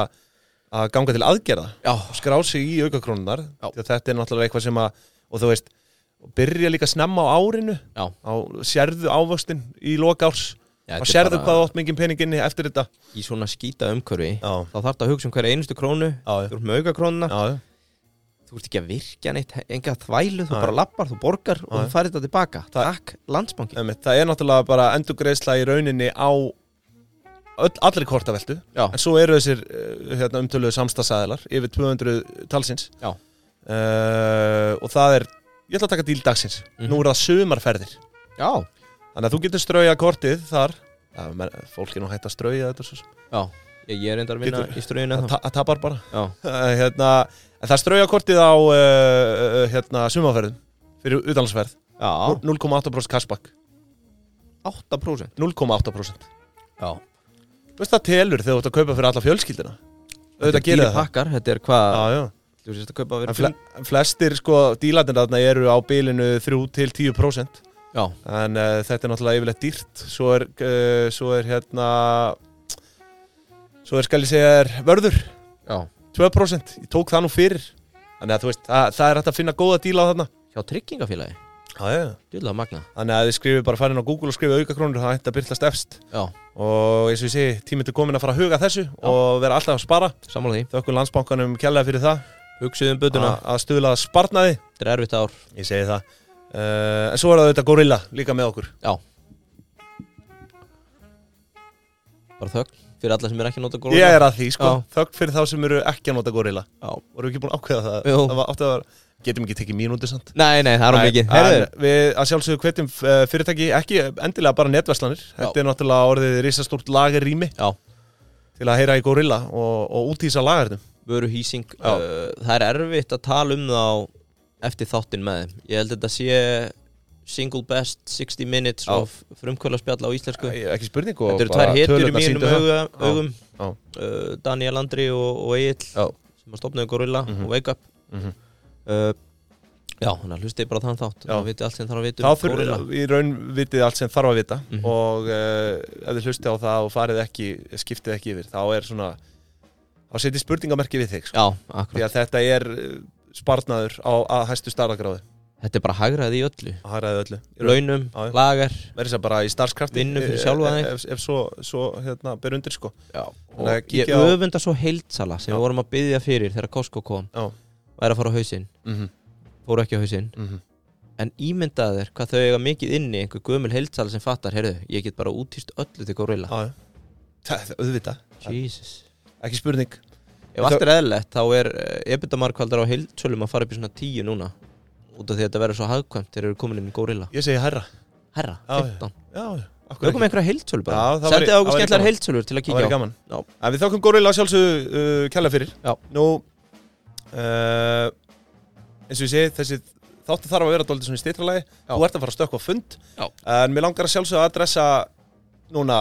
Speaker 1: að ganga til aðgerða
Speaker 3: Já,
Speaker 1: skrá sig í aukakrónunar
Speaker 3: Já.
Speaker 1: því að þetta er náttúrulega eitthvað sem að og þú veist, byrja líka snemma á árinu
Speaker 3: já,
Speaker 1: á, sérðu ávöxtin í loka árs
Speaker 3: já
Speaker 1: og
Speaker 3: þetta er
Speaker 1: sérðu
Speaker 3: bara
Speaker 1: hvað þú átt mikið peninginni eftir þetta
Speaker 3: Í svona skýta umhverfi
Speaker 1: já,
Speaker 3: Þá þarf það að hugsa um hverja einustu krónu
Speaker 1: já,
Speaker 3: Þú ert með auka krónuna
Speaker 1: já, já.
Speaker 3: Þú ert ekki að virkja neitt Enga þvælu, þú
Speaker 1: Já.
Speaker 3: bara lappar, þú borgar Og
Speaker 1: Já.
Speaker 3: þú færir þetta tilbaka Takk, landsbanki
Speaker 1: Einmitt, það er náttúrulega bara endurgreisla í rauninni á öll, allri kortaveltu
Speaker 3: Já.
Speaker 1: en svo eru þessir eh, hérna, umtöluðu samstagsæðilar yfir 200 talsins
Speaker 3: Já.
Speaker 1: Eh, og það er ég ætla að taka díl dagsins,
Speaker 3: Mhm.
Speaker 1: nú eru það sumarferðir
Speaker 3: Já,
Speaker 1: Þannig að þú getur strauja kortið þar ja, menn, Fólk er nú hægt að strauja þetta svo sem.
Speaker 3: já Ég, ég er reyndar að vinna
Speaker 1: Getur-
Speaker 3: í ströðinu
Speaker 1: Það
Speaker 3: ennþá.
Speaker 1: ta- það tapar bara
Speaker 3: Já,
Speaker 1: [LAUGHS] Eh, hérna, En það strauja kortið á uh, uh, hérna, sumaferðum Fyrir utanlandsferð
Speaker 3: já,
Speaker 1: 0,8% cashback
Speaker 3: 8%
Speaker 1: 0,8%
Speaker 3: Já
Speaker 1: Þú veist það telur þegar þú ert að kaupa fyrir alla fjölskyldina
Speaker 3: Þetta er
Speaker 1: Auðvitað gerir
Speaker 3: dýri
Speaker 1: það
Speaker 3: pakkar, þetta er hvað
Speaker 1: Já, já.
Speaker 3: Þú sést að kaupa
Speaker 1: En
Speaker 3: fyrir
Speaker 1: fle flestir sko dílarnir þarna eru á bilinu 3-10%
Speaker 3: Já,
Speaker 1: En uh, þetta er náttúrulega yfirleitt dýrt Svo er, uh, svo er hérna Svo er skal ég segja er vörður
Speaker 3: já
Speaker 1: 2% Ég tók það nú fyrir Þannig að þú veist, það, það er hægt að finna góða díla á þarna
Speaker 3: Hjá tryggingafélagi,
Speaker 1: Já, já
Speaker 3: djúlega magna
Speaker 1: Þannig að þið skrifið bara farin á Google og skrifið aukakrónur Það ætti að byrtast efst
Speaker 3: Já,
Speaker 1: Og eins og ég segi, tíminn er komin að fara að huga að þessu Og vera alltaf að spara
Speaker 3: sammála því
Speaker 1: Þökkum landsbankanum kjærlega fyrir það
Speaker 3: Hugsuðum bötuna,
Speaker 1: að, að stuðla að sparnaði
Speaker 3: þetta er erfitt ár
Speaker 1: Ég segi það uh, En svo er það auðvitað gorilla líka með okkur
Speaker 3: Já Bara þögn fyrir alla sem er ekki að nota góla
Speaker 1: Ég er að því, sko,
Speaker 3: Já.
Speaker 1: þögg fyrir þá sem eru ekki að nota gorilla
Speaker 3: Já
Speaker 1: Vorum við ekki búin að ákveða það?
Speaker 3: Jú.
Speaker 1: það var, átti að vera, getum ekki tekið mínúti samt
Speaker 3: Nei, nei, það er hún
Speaker 1: Nei,
Speaker 3: mikið
Speaker 1: en
Speaker 3: Herðu,
Speaker 1: Við að sjálfsögðu hvetjum eh, fyrirtæki, ekki endilega bara netverslanir Þetta er náttúrulega orðið risastórt lagerrými
Speaker 3: já,
Speaker 1: til að heyra í gorilla og, og útýsa lagarnum
Speaker 3: vöru hýsing
Speaker 1: Já.
Speaker 3: uh, Það er erfitt að tala um það eftir þáttinn með þeim Ég held að þetta sé single best 60 minutes
Speaker 1: Já.
Speaker 3: of frumkvöla á íslensku
Speaker 1: Æ, Ekki spurning og
Speaker 3: Þetta eru
Speaker 1: bara
Speaker 3: tvær hetjur í
Speaker 1: tölurnar
Speaker 3: mínum
Speaker 1: sýndu það.
Speaker 3: auga,
Speaker 1: Já.
Speaker 3: augum
Speaker 1: Já.
Speaker 3: uh, Daniel Andri og, og Egil
Speaker 1: Já.
Speaker 3: sem að stopnaði Gorilla og Wake Up
Speaker 1: Mhm.
Speaker 3: uh, Já, hann hlusti bara á þann þátt
Speaker 1: Já.
Speaker 3: og viti allt sem þarf að vita
Speaker 1: Þá
Speaker 3: um Gorilla
Speaker 1: þurfum við raun vitið allt sem þarf að vita
Speaker 3: Mhm.
Speaker 1: og uh, ef þið hlustið á það og farið ekki, skiptið ekki yfir, þá er svona þá setið spurningamerki við þig sko.
Speaker 3: Já,
Speaker 1: því
Speaker 3: akkurat
Speaker 1: að þetta er eh, sparnaður á að hæstu starðagráðu
Speaker 3: Þetta er bara hagraðið í öllu
Speaker 1: Hagræði öllu Í raun.
Speaker 3: Launum,
Speaker 1: Já, já.
Speaker 3: lagar
Speaker 1: Verið sér bara í starfskrafti
Speaker 3: Vinnu fyrir
Speaker 1: eh,
Speaker 3: sjálfa
Speaker 1: eh,
Speaker 3: þig.
Speaker 1: Ef, ef svo, svo hérna, ber undir sko
Speaker 3: Já,
Speaker 1: Þannig að
Speaker 3: og ég
Speaker 1: kíkja á-
Speaker 3: öfunda svo heildsala sem
Speaker 1: Já.
Speaker 3: við vorum að byggja fyrir þegar Costco kom
Speaker 1: Já.
Speaker 3: væri að fara á hausinn,
Speaker 1: mm -hmm.
Speaker 3: fóru ekki á hausinn
Speaker 1: Mm -hmm.
Speaker 3: en ímyndaðu þér hvað þau eiga mikið inni einhver gömul heildsala sem fattar, heyrðu, ég get bara útýst öllu til gorilla,
Speaker 1: Það, auðvitað
Speaker 3: Jesus
Speaker 1: Ekki spurning
Speaker 3: Ef allt er eðlilegt, þá er EBITDA markvaldar á heildsölum að fara upp í svona 10 núna út af því að þetta verður svo hagkvæmt þegar eru komin inn í gorilla
Speaker 1: Ég segi herra
Speaker 3: Herra,
Speaker 1: Já, já.
Speaker 3: 15
Speaker 1: Já, já af hverju
Speaker 3: Við komum
Speaker 1: ekki?
Speaker 3: einhverja heildsölu
Speaker 1: Já,
Speaker 3: bara
Speaker 1: það væri-
Speaker 3: Sendið á
Speaker 1: það
Speaker 3: okkur
Speaker 1: væri
Speaker 3: skemmtlar
Speaker 1: gaman.
Speaker 3: heildsölur til að
Speaker 1: Það væri
Speaker 3: kíkja á
Speaker 1: gaman
Speaker 3: Já.
Speaker 1: En við þökkum Gorilla sjálfsögðu uh, kæla fyrir
Speaker 3: Já.
Speaker 1: Nú uh, eins og ég segi þessi þáttu þarf að vera dálítið svona í stýtralagi
Speaker 3: Já.
Speaker 1: Þú ert að fara að stökkva á fund
Speaker 3: Já.
Speaker 1: En mér langar að sjálfsögðu að adressa núna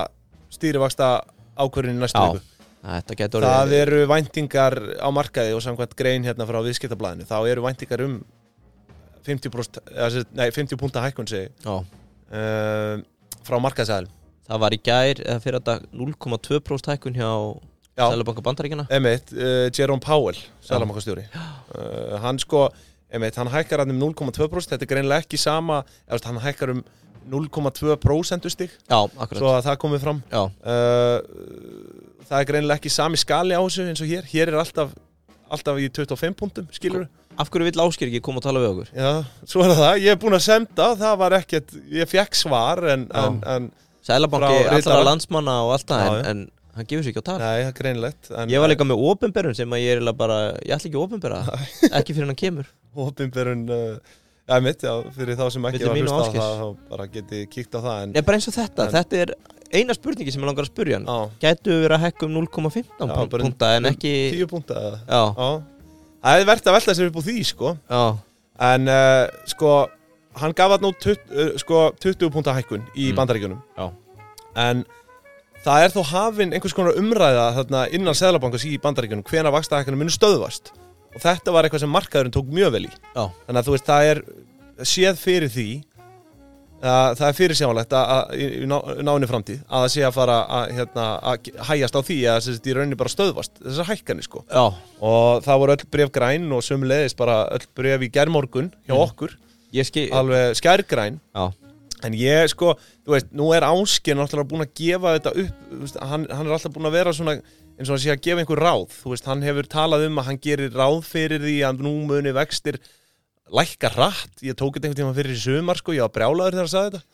Speaker 1: stýrivaksta ákvörðinu næstu
Speaker 3: Já.
Speaker 1: viku
Speaker 3: Þetta getur
Speaker 1: Það eru væntingar á markaði og samkvæmt grein hérna frá viðskiptablaðinu þá eru væntingar um 50%, eða sem sagt- nei, 50 púnta hækkun segi, ég,
Speaker 3: Já.
Speaker 1: uh, frá markaðsæðal
Speaker 3: Það var í gær eða fyrir þetta 0,2% hækkun hjá Sælabanka Bandaríkjana
Speaker 1: Emmett, uh, Jerome Powell Sælamakastjóri uh, Hann sko, Emmett, hann hækkar hann um 0,2% Þetta er greinilega ekki sama eða, þú veist, Hann hækkar um 0,2% stig
Speaker 3: Já, akkurat
Speaker 1: Svo að það komið fram
Speaker 3: Já,
Speaker 1: uh, Það er greinilega ekki sami skali á þessu eins og hér Hér er alltaf, alltaf í 25 punktum, skilur
Speaker 3: af hverju vill Ásker ekki koma og tala við okkur?
Speaker 1: Já, svo er það, ég er búinn að senda Það var ekkert, ég fekk svar En,
Speaker 3: Já.
Speaker 1: en, en
Speaker 3: Sælabanki,
Speaker 1: Frá
Speaker 3: allra
Speaker 1: ritara.
Speaker 3: landsmanna og allt það
Speaker 1: Já,
Speaker 3: en, en hann gefur sér ekki á tal
Speaker 1: nei, það er greinlegt en, eh,
Speaker 3: Ég var líka með opinberun sem að ég er eiginlega bara Ég ætla ekki að opinbera
Speaker 1: [LAUGHS]
Speaker 3: það. Ekki fyrir hann kemur
Speaker 1: Opinberun, uh, ja, mitt, já, fyrir þá sem ekki
Speaker 3: Milli
Speaker 1: var
Speaker 3: mín og
Speaker 1: hlustað á
Speaker 3: Ásgeirs.
Speaker 1: það Þá bara geti kíkt á það en,
Speaker 3: Nei, bara eins og þetta,
Speaker 1: En-
Speaker 3: þetta er eina spurningi sem ég langar að spurja hann
Speaker 1: á,
Speaker 3: Gætu við verið að hekka um 0,15
Speaker 1: Já,
Speaker 3: pún-
Speaker 1: bara um-
Speaker 3: púnta en ekki
Speaker 1: 10 púnta eða?
Speaker 3: Já,
Speaker 1: Já Það er verðt að velta sér upp úr því sko
Speaker 3: já,
Speaker 1: En uh, sko Hann gaf hann nú tut, uh, sko, 20 púnta hækkun Í
Speaker 3: Mm.
Speaker 1: bandaríkjunum
Speaker 3: Já.
Speaker 1: En það er þó hafin einhvers konar umræða Þarna innan seðlabankas í bandaríkjunum Hvena vaksta hækkunum munu stöðvast Og þetta var eitthvað sem markaðurinn tók mjög vel í
Speaker 3: já,
Speaker 1: Þannig að þú veist það er Séð fyrir því að Það er fyrirsjávalegt að, að, í, í ná, náinni framtíð að það sé að fara að, hérna, að hægjast á því að þessi í rauninni bara stöðvast þessar hækkanir sko
Speaker 3: já,
Speaker 1: og það voru öll bref græn og sömulegðis bara öll bref í germorgun hjá okkur,
Speaker 3: ég skil Já,
Speaker 1: alveg skærgræn
Speaker 3: já,
Speaker 1: en ég sko, þú veist, nú er Áskir náttúrulega búin að gefa þetta upp þú veist, hann, hann er alltaf búin að vera svona eins og hann sé að gefa einhver ráð, þú veist, hann hefur talað um að hann gerir ráð fyrir því að nú muni vextir lækka rætt ég tók þetta einhvern tíma fyrir í sumar sko, ég var brjálaður þegar hann sagði þetta,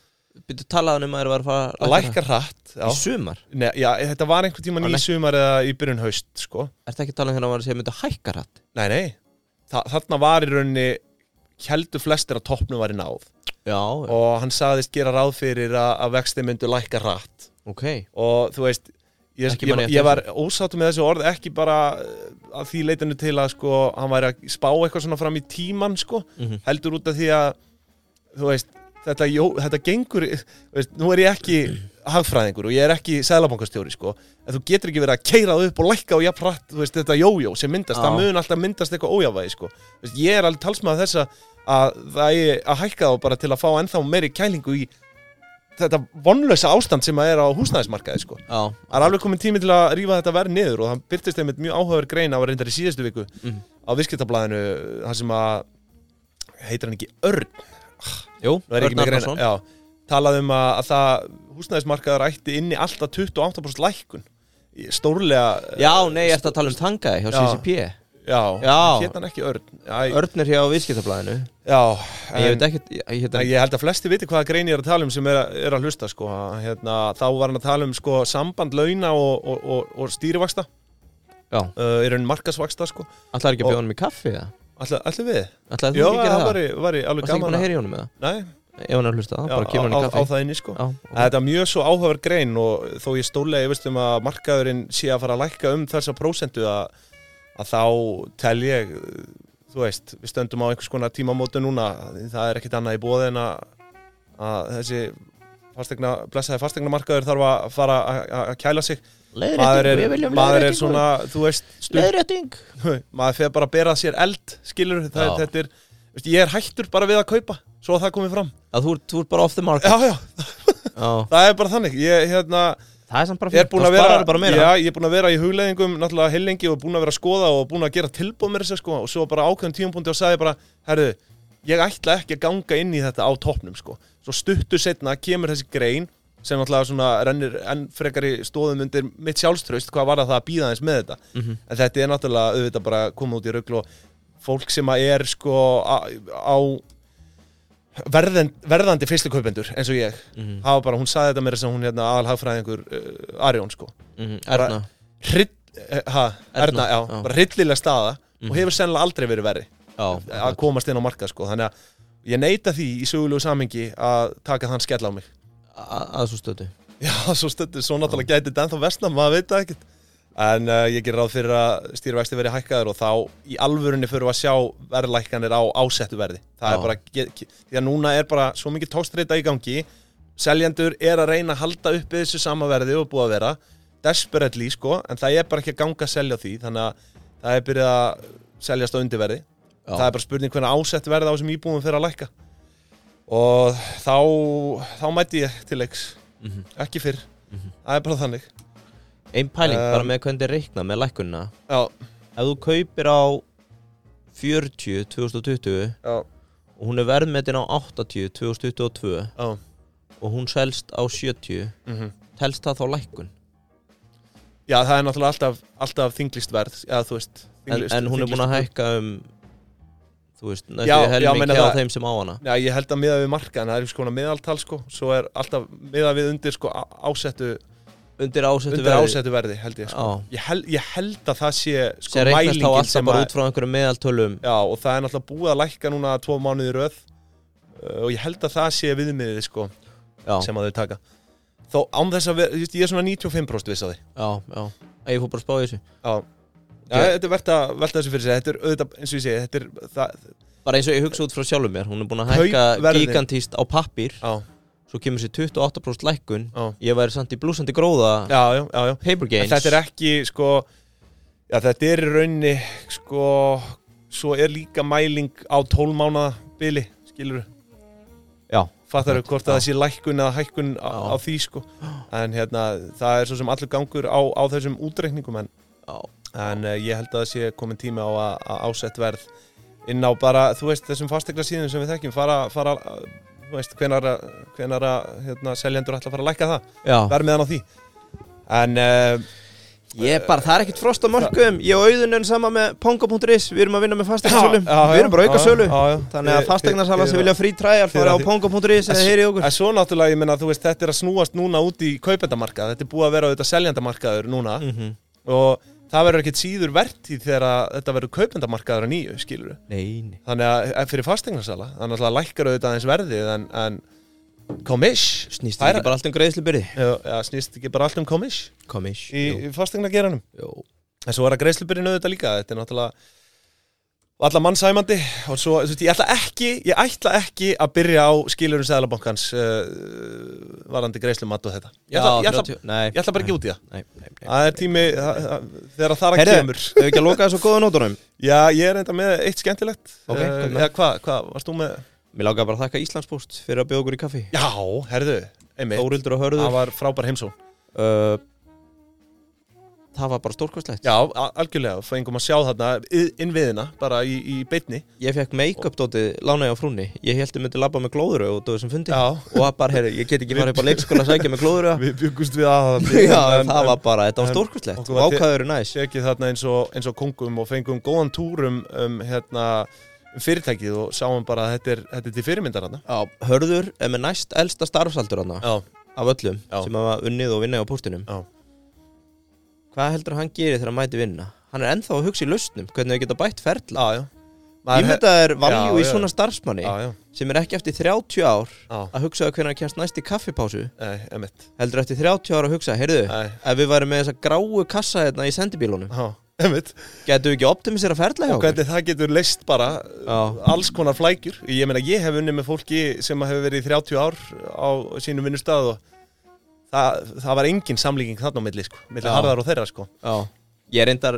Speaker 3: byrju talaðan um að þeir var að fara að
Speaker 1: lækka rætt
Speaker 3: það. Í
Speaker 1: já.
Speaker 3: sumar,
Speaker 1: Nei, já, þetta var einhvern tíma
Speaker 3: Á,
Speaker 1: ný
Speaker 3: læk-
Speaker 1: sumar eða í byrjun haust, sko
Speaker 3: ertu ekki að tala um hérna að maður sé að mynda hækka rætt
Speaker 1: Nei, nei, Þa, þarna var í rauninni heldur flestir að toppnum væri náð
Speaker 3: Já,
Speaker 1: og hann sagðist gera ráð fyrir að, að vexti myndu lækka rætt
Speaker 3: ok,
Speaker 1: og þú veist ég,
Speaker 3: Ekki
Speaker 1: ég,
Speaker 3: man
Speaker 1: ég,
Speaker 3: ég
Speaker 1: var ósáttum með þessu orð ekki bara eh, að því leitinu til að sko, hann væri að spá eitthvað svona fram í tíman sko,
Speaker 3: Mhm.
Speaker 1: heldur út af því að þú veist, þetta, jó, þetta gengur þú veist, nú er ég ekki hagfræðingur og ég er ekki sælabankastjóri sko, en þú getur ekki verið að keira það upp og lækka og jafn rætt, þú veist, þetta jójó sem myndast,
Speaker 3: Já.
Speaker 1: það mun alltaf myndast eitthvað ójáfæði sko. Þú veist, ég er alveg talsmaður þess að- að það er að hækka þá bara til að fá ennþá meiri kælingu í þetta vonlösa ástand sem að er á húsnæðismarkaði sko.
Speaker 3: já,
Speaker 1: Það er alveg komin tími til að rífa þetta verð niður og það byrtist einmitt mjög áhugaver grein að var reyndar í síðustu viku
Speaker 3: Mhm.
Speaker 1: á viðskiptablaðinu, þar sem að heitir hann ekki Örn
Speaker 3: jú,
Speaker 1: Nú er ég ekki
Speaker 3: Örn
Speaker 1: með greina-
Speaker 3: Arnarsson
Speaker 1: já, talað um að, að það húsnæðismarkaður ætti inni alltaf 28% lækkun Í- stórlega
Speaker 3: Já, nei, ertu að tala um tangaði hjá
Speaker 1: Já.
Speaker 3: CCP
Speaker 1: já,
Speaker 3: Já.
Speaker 1: hétt hann ekki Örn Æ,
Speaker 3: Örn er hjá viðskiptablaðinu
Speaker 1: já,
Speaker 3: En ég
Speaker 1: en-
Speaker 3: veit ekkert, ég heit
Speaker 1: Nei,
Speaker 3: hann
Speaker 1: ég held að flesti viti hvaða grein ég er að tala um sem er, að- er að hlusta sko. að, hérna, þá var hann að tala um sko, samband launa og, og, og, og stýrivaksta
Speaker 3: Já,
Speaker 1: uh, er hann markasvaksta sko.
Speaker 3: ætlaði ekki að bjóða hann í kaffi það
Speaker 1: Ætla, ætla við?
Speaker 3: Ætlaði
Speaker 1: Já,
Speaker 3: þú ekki að
Speaker 1: það
Speaker 3: gera það
Speaker 1: var, var ég alveg
Speaker 3: Varstu ekki
Speaker 1: gaman
Speaker 3: búin að heyra í honum með það?
Speaker 1: Nei,
Speaker 3: Ef hann er að hlusta, þá
Speaker 1: já,
Speaker 3: bara kemur hann í
Speaker 1: á, á, á
Speaker 3: kaffi
Speaker 1: það inni sko
Speaker 3: Já, ok.
Speaker 1: Þetta er mjög svo áhugaverð grein og þó ég stólega yfirst um að markaðurinn sé að fara að lækka um þessa prósentu að, að þá tel ég, þú veist, við stöndum á einhvers konar tímamótu núna, það er ekkit annað í bóði en að, að þessi fastegna, blessaði fastegnamarkaður þarf að fara að- að að kæla sig maður er, maður er svona, þú veist stund,
Speaker 3: Leðrétting
Speaker 1: [LAUGHS] maður fer bara að bera sér eld skilur, það,
Speaker 3: Já.
Speaker 1: þetta er veist, ég er hættur bara við að kaupa, svo að það komið fram
Speaker 3: Að þú, ert- þú ert bara off the market
Speaker 1: já, já,
Speaker 3: Já.
Speaker 1: það er bara þannig ég, hérna,
Speaker 3: Það er samt bara
Speaker 1: er búin að vera,
Speaker 3: bara meira
Speaker 1: já, ég er búin að vera í hugleðingum náttúrulega heilengi og búin að vera að skoða og búin að gera tilbúð með þessu sko og svo bara ákveðum tíumpunkti og sagði bara, herðu ég ætla ekki að ganga inn í þetta á toppnum sko. svo stuttu setna kemur þessi grein sem alltaf svona rennir enn frekari stóðum undir mitt sjálfströst hvað var að það að býða eins með þetta
Speaker 3: Mhm.
Speaker 1: en þetta er náttúrulega auðvitað bara að koma út í rögglu og fólk sem að er sko á, á verðend, verðandi fyrstu kaupendur eins og ég
Speaker 3: Mhm.
Speaker 1: hafa bara, hún sagði þetta mér sem hún hérna aðalhagfræðingur uh, Arjón sko
Speaker 3: Mhm,
Speaker 1: Bara-
Speaker 3: Erna
Speaker 1: Hryll, eh, ha, Erna,
Speaker 3: Erna,
Speaker 1: já,
Speaker 3: já.
Speaker 1: bara hryllilega staða og hefur sennilega aldrei verið verri
Speaker 3: Já,
Speaker 1: að komast inn á markað sko þannig að ég neita því í sögulegu samhengi að taka þann skell á mig
Speaker 3: að að svo stötu
Speaker 1: já, svo stöttu, svo náttúrulega gæti þetta ennþá vestna maður veit það ekkert en uh, ég ger ráð fyrir að stýrivexti verið hækkaður og þá í alvörunni fyrir að sjá verðlækkanir á ásettu verði það
Speaker 3: Já.
Speaker 1: er bara, ge- ge- því að núna er bara svo mikið tókstreita í gangi seljendur er að reyna að halda uppi þessu sama verði og búið að vera desperately sko, en það er bara ekki að ganga að selja á því þannig að það er byrjað að seljast á undirverði
Speaker 3: Já.
Speaker 1: það er bara spurning hvernig ásett verði á þessum íbúðum fyrir að lækka og þá, þá mæti ég til leiks ekki fyrr,
Speaker 3: Mhm.
Speaker 1: það er bara þannig
Speaker 3: Einn pæling
Speaker 1: Um,
Speaker 3: bara með hvernig þið reikna með lækkunna
Speaker 1: já,
Speaker 3: Ef þú kaupir á 40 2020
Speaker 1: já,
Speaker 3: og hún er verðmetin á 80 2022
Speaker 1: já
Speaker 3: og hún selst á 70
Speaker 1: mhm.
Speaker 3: telst það þá lækkun
Speaker 1: já, það er náttúrulega alltaf, alltaf þinglist verð já, þú veist
Speaker 3: en,
Speaker 1: þinglýst-
Speaker 3: en hún er búin að
Speaker 1: þinglýst-
Speaker 3: hækka um þú veist, næstu
Speaker 1: Já,
Speaker 3: já,
Speaker 1: já,
Speaker 3: helming
Speaker 1: meina
Speaker 3: hjá
Speaker 1: það-
Speaker 3: þeim sem á hana
Speaker 1: Já, ég held að miða við markan, það er sko meðaltal sko, svo er alltaf miða við undir sko á- ásettu,
Speaker 3: undir ásettu
Speaker 1: undir ásettu verði held ég sko.
Speaker 3: Já.
Speaker 1: ég, hel, ég held að það sé sko
Speaker 3: sem reiknast þá
Speaker 1: mælingin
Speaker 3: alltaf
Speaker 1: sem
Speaker 3: bara
Speaker 1: að
Speaker 3: út frá einhverjum meðaltölum
Speaker 1: Já, og það er náttúrulega búið að lækka núna tvo mánuði í röð uh, og ég held að það sé viðmiðið sko,
Speaker 3: já,
Speaker 1: sem að þau taka þó án þess að, við, ég er svona 95% viss að því
Speaker 3: já, já, Æ, ég fór bara að spá í þessu
Speaker 1: Já, Já,
Speaker 3: Ég-
Speaker 1: þetta er verðt að velta þessu fyrir sér Þetta er auðvitað, eins og ég segi, þetta er það,
Speaker 3: bara eins og ég hugsa út frá sjálfum mér hún er búin að
Speaker 1: Kaup
Speaker 3: hækka
Speaker 1: verðið.
Speaker 3: gigantíst á pappír
Speaker 1: Já,
Speaker 3: svo kemur sér 28% lækkun
Speaker 1: já,
Speaker 3: ég væri samt í blúsandi gróða
Speaker 1: já, já, já, já.
Speaker 3: paper
Speaker 1: En
Speaker 3: gains
Speaker 1: þetta er ekki, sko Já, þetta er í rauninni, sko Svo er líka mæling á 12 mánaða bili, skilur
Speaker 3: já,
Speaker 1: Fattar hvort
Speaker 3: Já.
Speaker 1: að það sé lækkun eða hækkun á,
Speaker 3: Já.
Speaker 1: á því, sko En hérna, það er svo sem allur gangur á, á þessum útreikningum En
Speaker 3: já,
Speaker 1: en uh, ég held að það sé komin tími á að, að ásett verð inn á bara, þú veist, þessum fastegna síðum sem við þekkjum, fara, fara uh, þú veist, hvenar, að- hvenar að, hérna, seljendur ætla að fara að lækka það,
Speaker 3: já.
Speaker 1: verðmiðan á því en uh,
Speaker 3: Ég er bara, það er ekkert frost á mörgum Ég og auðun er sama með pongo.is Við erum að vinna með fasteignarsölu
Speaker 1: Já, já, já.
Speaker 3: Við erum bara að auka
Speaker 1: Já,
Speaker 3: sölu
Speaker 1: já, já.
Speaker 3: Þannig að
Speaker 1: Þið-
Speaker 3: fasteignarsala
Speaker 1: þið-
Speaker 3: sem vilja frí træjar
Speaker 1: þið-
Speaker 3: fara á
Speaker 1: þið-
Speaker 3: pongo.is eða heyri okkur
Speaker 1: en svo náttúrulega, ég menna, þú veist, þetta er að snúast núna út í kaupendamarkað, þetta er búið að vera auðvitað seljendamarkaður núna
Speaker 3: Mhm.
Speaker 1: og það verður ekkit síður vertíð þegar að þetta verður kaupendamarkaður að nýju, skilur
Speaker 3: Nei, nei
Speaker 1: þannig að eh, fyrir fastegnarsala, þannig að lækkar auðvitað eins verðið en, en komish
Speaker 3: Snýst
Speaker 1: Það er-
Speaker 3: ekki bara allt um greiðslubyrði
Speaker 1: Já, já, snýst ekki bara allt um komish
Speaker 3: Komish
Speaker 1: í
Speaker 3: Jú,
Speaker 1: í fasteignageranum
Speaker 3: jú
Speaker 1: en svo er að greiðslubyrjun auðvitað líka þetta er náttúrulega alla mannsæmandi og svo, þú veist, ég ætla ekki ég ætla ekki að byrja á skilurum seðlabankans uh, varandi greiðslumat og þetta ég ætla, ég, ætla,
Speaker 3: 30 Nei
Speaker 1: ég ætla bara ekki út í það
Speaker 3: Nei, nei, nei
Speaker 1: það er tími það- það- þegar það er að
Speaker 3: Herðu,
Speaker 1: kemur
Speaker 3: [LAUGHS] hefur ekki að loka þessu á góðu nótunum
Speaker 1: já, ég er enda með eitt skemmtilegt
Speaker 3: Ok,
Speaker 1: Eh,
Speaker 3: hvað með?
Speaker 1: eða hvað, hvað, varst þú með
Speaker 3: Mér lákaði bara að þakka Íslandspost fyrir að bjóða okkur í kaffi
Speaker 1: já, herðu, einmitt
Speaker 3: Þórildur og Hörður
Speaker 1: það var frábær heimsó
Speaker 3: uh, Það var bara stórkvæslegt
Speaker 1: já, a- algjörlega, fengum að sjá þarna i- innviðina, bara í, í beinni
Speaker 3: Ég fekk make-up dótið lánaði á frúnni Ég held ég myndi labba með glóður og dótið sem fundi
Speaker 1: já,
Speaker 3: og að bara, heyrðu, ég get ekki farið upp á leikskóla að sækja með glóður
Speaker 1: við byggust við að [LAUGHS]
Speaker 3: [LAUGHS] Já, það var bara, þetta var
Speaker 1: en-
Speaker 3: stórkustlegt
Speaker 1: okkur var til-
Speaker 3: Vákaður er næs
Speaker 1: sékið þarna eins og, eins og kongum og fengum góðan túr um, um hérna, um fyrirtækið og sáum bara að þetta er, þetta er til fyrirmyndar hana.
Speaker 3: Já, Hörður er með næst elsta starfsaldur hana,
Speaker 1: Já.
Speaker 3: af öllum
Speaker 1: Já.
Speaker 3: sem hafa unnið og vinnið á póstinum
Speaker 1: Já.
Speaker 3: Hvað heldur hann gerir þegar hann mæti vinna? Hann er ennþá að hugsa í lausnum, hvernig þau geta bætt ferla
Speaker 1: Já, já. Maður
Speaker 3: Ég myndi að það er valjú
Speaker 1: Já,
Speaker 3: í
Speaker 1: já.
Speaker 3: svona starfsmanni
Speaker 1: Já, já.
Speaker 3: sem er ekki eftir 30 ár
Speaker 1: Já,
Speaker 3: að hugsa hvernig hann kjast næst í kaffipásu
Speaker 1: nei, emitt.
Speaker 3: heldur eftir 30 ár að hugsa, heyrðu
Speaker 1: Nei,
Speaker 3: ef við værum með þessa gráu kassa hérna í sendibílunum
Speaker 1: já, emitt.
Speaker 3: getum við ekki optimisera ferla hjá
Speaker 1: Og
Speaker 3: okkur?
Speaker 1: hvernig það getur leist bara
Speaker 3: Já.
Speaker 1: alls konar flækjur. Ég meina, ég hef unnið með fólki sem hefur verið í 30 ár á sínum vinnustad og það, það var engin samlíking þarna á milli, sko. Milli
Speaker 3: Já.
Speaker 1: harðar og þeirra, sko.
Speaker 3: Já, ég reyndar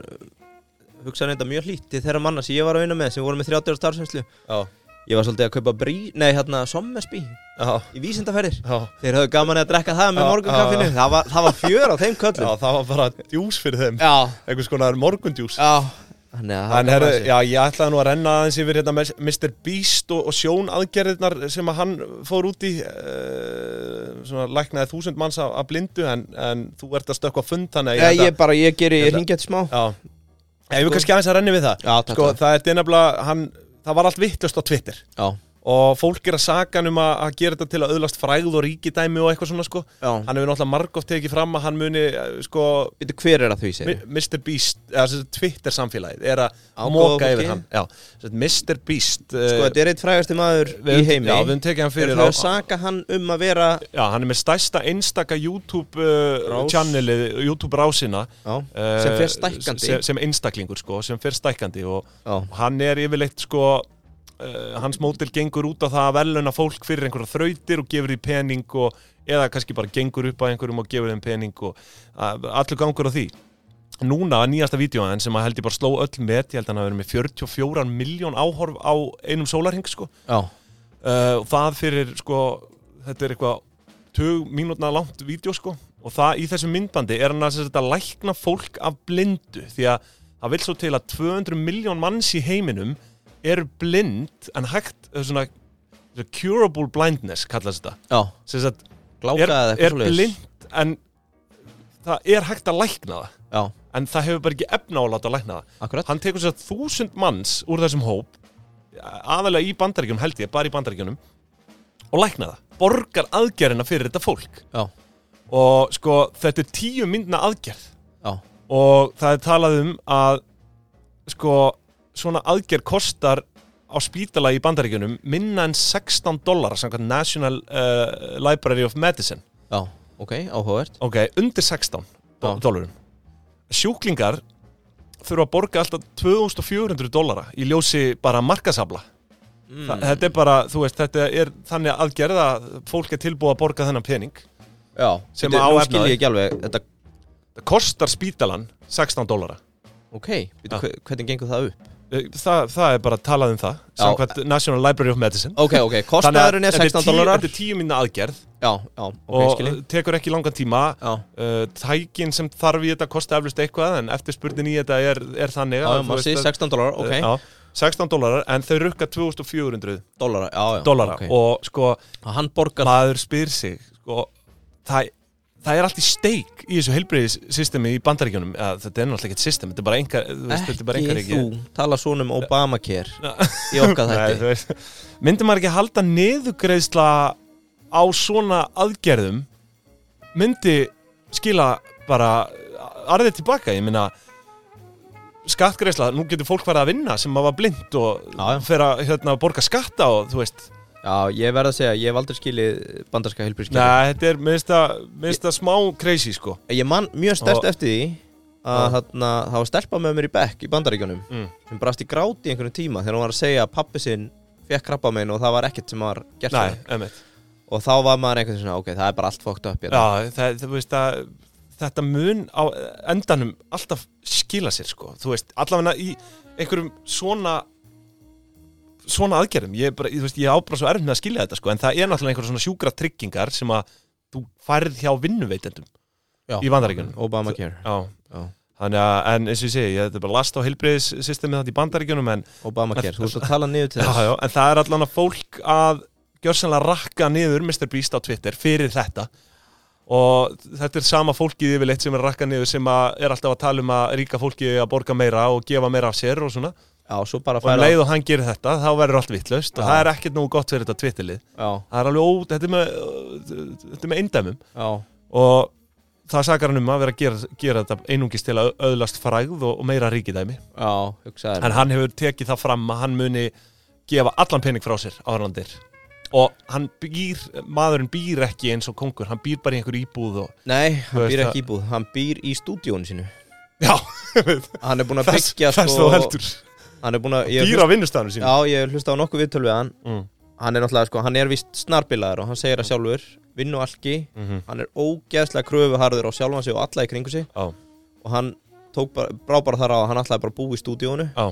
Speaker 3: hugsa reyndar mjög hlítið þeirra manna sem ég var að vinna með sem voru með 30 ára starfsveinslu
Speaker 1: Já,
Speaker 3: Ég var svolítið að kaupa brí, nei hérna sommersbí
Speaker 1: já,
Speaker 3: í vísindaferðir
Speaker 1: já.
Speaker 3: Þeir höfðu gaman að drekka það
Speaker 1: Já,
Speaker 3: með morgunkaffinu
Speaker 1: já, já.
Speaker 3: það, var, það var fjör á þeim
Speaker 1: [LAUGHS] Já,
Speaker 3: köllum
Speaker 1: það var bara djús fyrir þeim.
Speaker 3: Já,
Speaker 1: Einhvers konar morgundjús.
Speaker 3: já, Þannig að það
Speaker 1: En herru,
Speaker 3: gaman að
Speaker 1: já, ég ætlaði nú að renna aðeins yfir hérna mes- Mr. Beast og, og sjón aðgerðirnar sem að hann fór út í uh, svona læknaði þúsund manns af, af blindu en, en þú ert að stökkva á fund þannig
Speaker 3: sé.
Speaker 1: að
Speaker 3: Eh, Ég, ég bara, ég geri,
Speaker 1: Ég
Speaker 3: ég
Speaker 1: ætla-
Speaker 3: ringi eftir smá
Speaker 1: Já, ég vil kannski aðeins að renni við það
Speaker 3: Sko- Já, takk
Speaker 1: Sko, það er dynabla, hann, það var allt vittlust á Twitter
Speaker 3: Já,
Speaker 1: og fólk er að saka hann um að, að gera þetta til að öðlast frægð og ríkidæmi og eitthvað svona sko
Speaker 3: já
Speaker 1: Hann hefur náttúrulega margóft tekið fram að hann muni, eh, sko,
Speaker 3: Veitu hver er að því, segir
Speaker 1: Mi- Mr. Beast, eða sem sagt Twitter samfélagið, er að
Speaker 3: Ágóða
Speaker 1: móka
Speaker 3: fólki.
Speaker 1: yfir hann. Já, sem sagt, Mr. Beast.
Speaker 3: Sko, þetta er eitt frægasti maður í heimi
Speaker 1: Já, við höfum tekið hann
Speaker 3: Fyrir
Speaker 1: fyrir
Speaker 3: það
Speaker 1: á-
Speaker 3: að saka hann um að vera
Speaker 1: Já, hann er með stærsta einstaka YouTube uh,
Speaker 3: Rás.
Speaker 1: channelið, YouTube rásina
Speaker 3: Já,
Speaker 1: uh,
Speaker 3: Sem fer stækkandi.
Speaker 1: sem, sem einstaklingur sko, sem fer stækkandi og
Speaker 3: já,
Speaker 1: hann er yfirleitt sko uh, hans mótil gengur út á það að veluna fólk fyrir einhverja þrautir og gefur því pening og, eða kannski bara gengur upp að einhverjum og gefur þeim pening og uh, allur gangur á því núna nýjasta vídjóðan sem að held ég bara sló öll met, ég held að hann hafi verið með 44 miljón áhorf á einum sólarhing sko
Speaker 3: já
Speaker 1: uh, og það fyrir sko, þetta er eitthvað 20 mínútna langt vídeo sko og það í þessu myndbandi er hann að, sem sagt að lækna fólk af blindu því að það vil svo til að 200 miljón manns í heiminum eru blind en hægt eh, svona, svona curable blindness kallast þetta
Speaker 3: Já,
Speaker 1: sem sagt
Speaker 3: gláka
Speaker 1: er,
Speaker 3: eða eitthvað
Speaker 1: er
Speaker 3: svoleiðis.
Speaker 1: blind en það er hægt að lækna það
Speaker 3: Já,
Speaker 1: en það hefur bara ekki efna á að láta lækna það
Speaker 3: akkurat
Speaker 1: hann tekur sér þúsund manns úr þessum hóp aðalega í bandaríkjum held ég, bara í bandaríkjunum og lækna það, borgar aðgerina fyrir þetta fólk
Speaker 3: Já,
Speaker 1: og sko þetta er tíu myndna aðgerð
Speaker 3: já,
Speaker 1: og það er talað um að sko svona aðgerð kostar á spítala í bandaríkjunum minna en 16 dollara samkvæmt National uh, Library of Medicine
Speaker 3: já Ok, áhugavert
Speaker 1: Ok, undir 16
Speaker 3: Já.
Speaker 1: dólarum Sjúklingar þurfa að borga alltaf 2400 dólara í ljósi bara markasabla
Speaker 3: Mm.
Speaker 1: Þa, Þetta er bara, þú veist, þetta er þannig aðgerð að fólk er tilbúið að borga þennan pening
Speaker 3: Já,
Speaker 1: Sem
Speaker 3: Bíddu,
Speaker 1: á
Speaker 3: nú
Speaker 1: efnaði.
Speaker 3: skil ég ekki alveg Þetta,
Speaker 1: Það kostar spítalan 16 dólara
Speaker 3: ok,
Speaker 1: Já.
Speaker 3: Bíddu, hve- hvernig gengur það upp?
Speaker 1: Þa, Eh, Það er bara talað um það
Speaker 3: Já.
Speaker 1: Samkvæmt National Library of Medicine
Speaker 3: Ok, ok, [LAUGHS]
Speaker 1: Þannig að
Speaker 3: kostnaðurinn er
Speaker 1: þetta
Speaker 3: 16
Speaker 1: tíu-
Speaker 3: dólarar
Speaker 1: Þetta er tíu minna aðgerð
Speaker 3: Já, já, ok,
Speaker 1: og
Speaker 3: skil ég
Speaker 1: tekur ekki langan tíma
Speaker 3: Já,
Speaker 1: uh, Tækin sem þarf í þetta kosti eflust eitthvað en eftirspurnin í þetta er, er þannig
Speaker 3: já, já,
Speaker 1: að þú
Speaker 3: maður
Speaker 1: veist
Speaker 3: sé
Speaker 1: að-
Speaker 3: 16 dólarar, ok
Speaker 1: já, 16 dólarar en þau rukka 2400
Speaker 3: Dólarar, já, já
Speaker 1: dólara
Speaker 3: ok.
Speaker 1: og sko
Speaker 3: Að Hann borgar
Speaker 1: maður spyr sig sko, það, það er allt í steik í þessu heilbreyðissystemi í bandaríkjunum ja, þetta er náttúrulega ekkert system, þetta er bara enga þú veist, þetta er bara enga
Speaker 3: Ekki þú tala svona um Obamacare Í [LAUGHS] okkar þætti
Speaker 1: ríki myndi maður ekki halda niðugreðsla á svona aðgerðum myndi skila bara arðið tilbaka, ég minna skattgreðsla, nú getur fólk farið að vinna sem að var blind og
Speaker 3: Já, já.
Speaker 1: fer að hérna, borga skatta og þú veist
Speaker 3: Já, ég verð að segja, ég hef aldrei skilið bandarska helbriðskilið
Speaker 1: Nei, þetta er minnst að, minnst að smá crazy sko
Speaker 3: Ég man mjög stert
Speaker 1: Og-
Speaker 3: eftir því að
Speaker 1: Já.
Speaker 3: þarna, það var stelpa með mér í bekk í bandaríkjunum
Speaker 1: Mm.
Speaker 3: sem brast í gráti í einhvern tíma þegar hún var að segja að pappi sinn fekk krabba minn og það var ekkert sem var gert
Speaker 1: Nei,
Speaker 3: við hann.
Speaker 1: einmitt
Speaker 3: og þá var maður einhvern veginn svona, ok, það er bara allt fókt upp hérna.
Speaker 1: Já, það, þú veist að þetta mun á endanum alltaf skila sér sko Þú veist, allavega í einhverjum svona svona aðgerðum ég, er bara, ég, þú veist, ég á bara svo erfn með að skilja þetta sko en það er náttúrulega einhverjum svona sjúkra tryggingar sem að þú færð hjá vinnuveitendum
Speaker 3: Já.
Speaker 1: í vandaríkjunum
Speaker 3: Obamacare,
Speaker 1: Já,
Speaker 3: Já.
Speaker 1: þannig að, en eins og ég segi, ég, þetta er bara last á heilbriðssystemið þetta í bandaríkjunum en
Speaker 3: Obamacare, þú ert að tala niður til
Speaker 1: já,
Speaker 3: þess
Speaker 1: já, en það er allan að fólk að gjörsanlega rakka niður Mr. Beast á Twitter fyrir þetta og þetta er sama fólkið yfirleitt sem er að rakka niður sem að er alltaf að tala um að ríka fólki að borga meira og gefa meira af sér og svona
Speaker 3: Já, svo bara
Speaker 1: og um
Speaker 3: færa
Speaker 1: leið og hann gerir þetta þá verður allt vittlaust og
Speaker 3: Já.
Speaker 1: það er ekkert nógu gott fyrir þetta Twitterlið
Speaker 3: Já,
Speaker 1: það er alveg ó, þetta er með, uh, þetta er með eindæmum
Speaker 3: já,
Speaker 1: og það sakar hann um að vera að gera, gera þetta einungis til að öðlast frægð og, og meira ríkidæmi
Speaker 3: já, hugsaður
Speaker 1: en hann hefur tekið það fram að hann muni gefa allan pening frá sér á Arlandir og hann býr, maðurinn býr ekki eins og kongur, hann býr bara í einhver íbúð og [LAUGHS]
Speaker 3: Nei,
Speaker 1: Þú
Speaker 3: hann
Speaker 1: veist
Speaker 3: býr
Speaker 1: það-
Speaker 3: ekki íbúð, hann býr í stúdíónu sínu
Speaker 1: já,
Speaker 3: Hann er búin að
Speaker 1: þess,
Speaker 3: byggja
Speaker 1: þess
Speaker 3: sko
Speaker 1: þú heldur
Speaker 3: Hann er búin að ég hef
Speaker 1: býr á vinnustafnum sínum
Speaker 3: Já, ég hef hlusta á nokkuð viðtöl við hann
Speaker 1: Mm.
Speaker 3: Hann er náttúrulega, sko, hann er vist snarbilaður og hann segir að sjálfur, vinn og alki
Speaker 1: Mhm.
Speaker 3: Hann er ógeðslega kröfuharður á sjálfan sig og alla í kringu sig
Speaker 1: já,
Speaker 3: og hann tók bara, brá bara þar á að hann ætlaði bara að búa í stúdíónu
Speaker 1: já,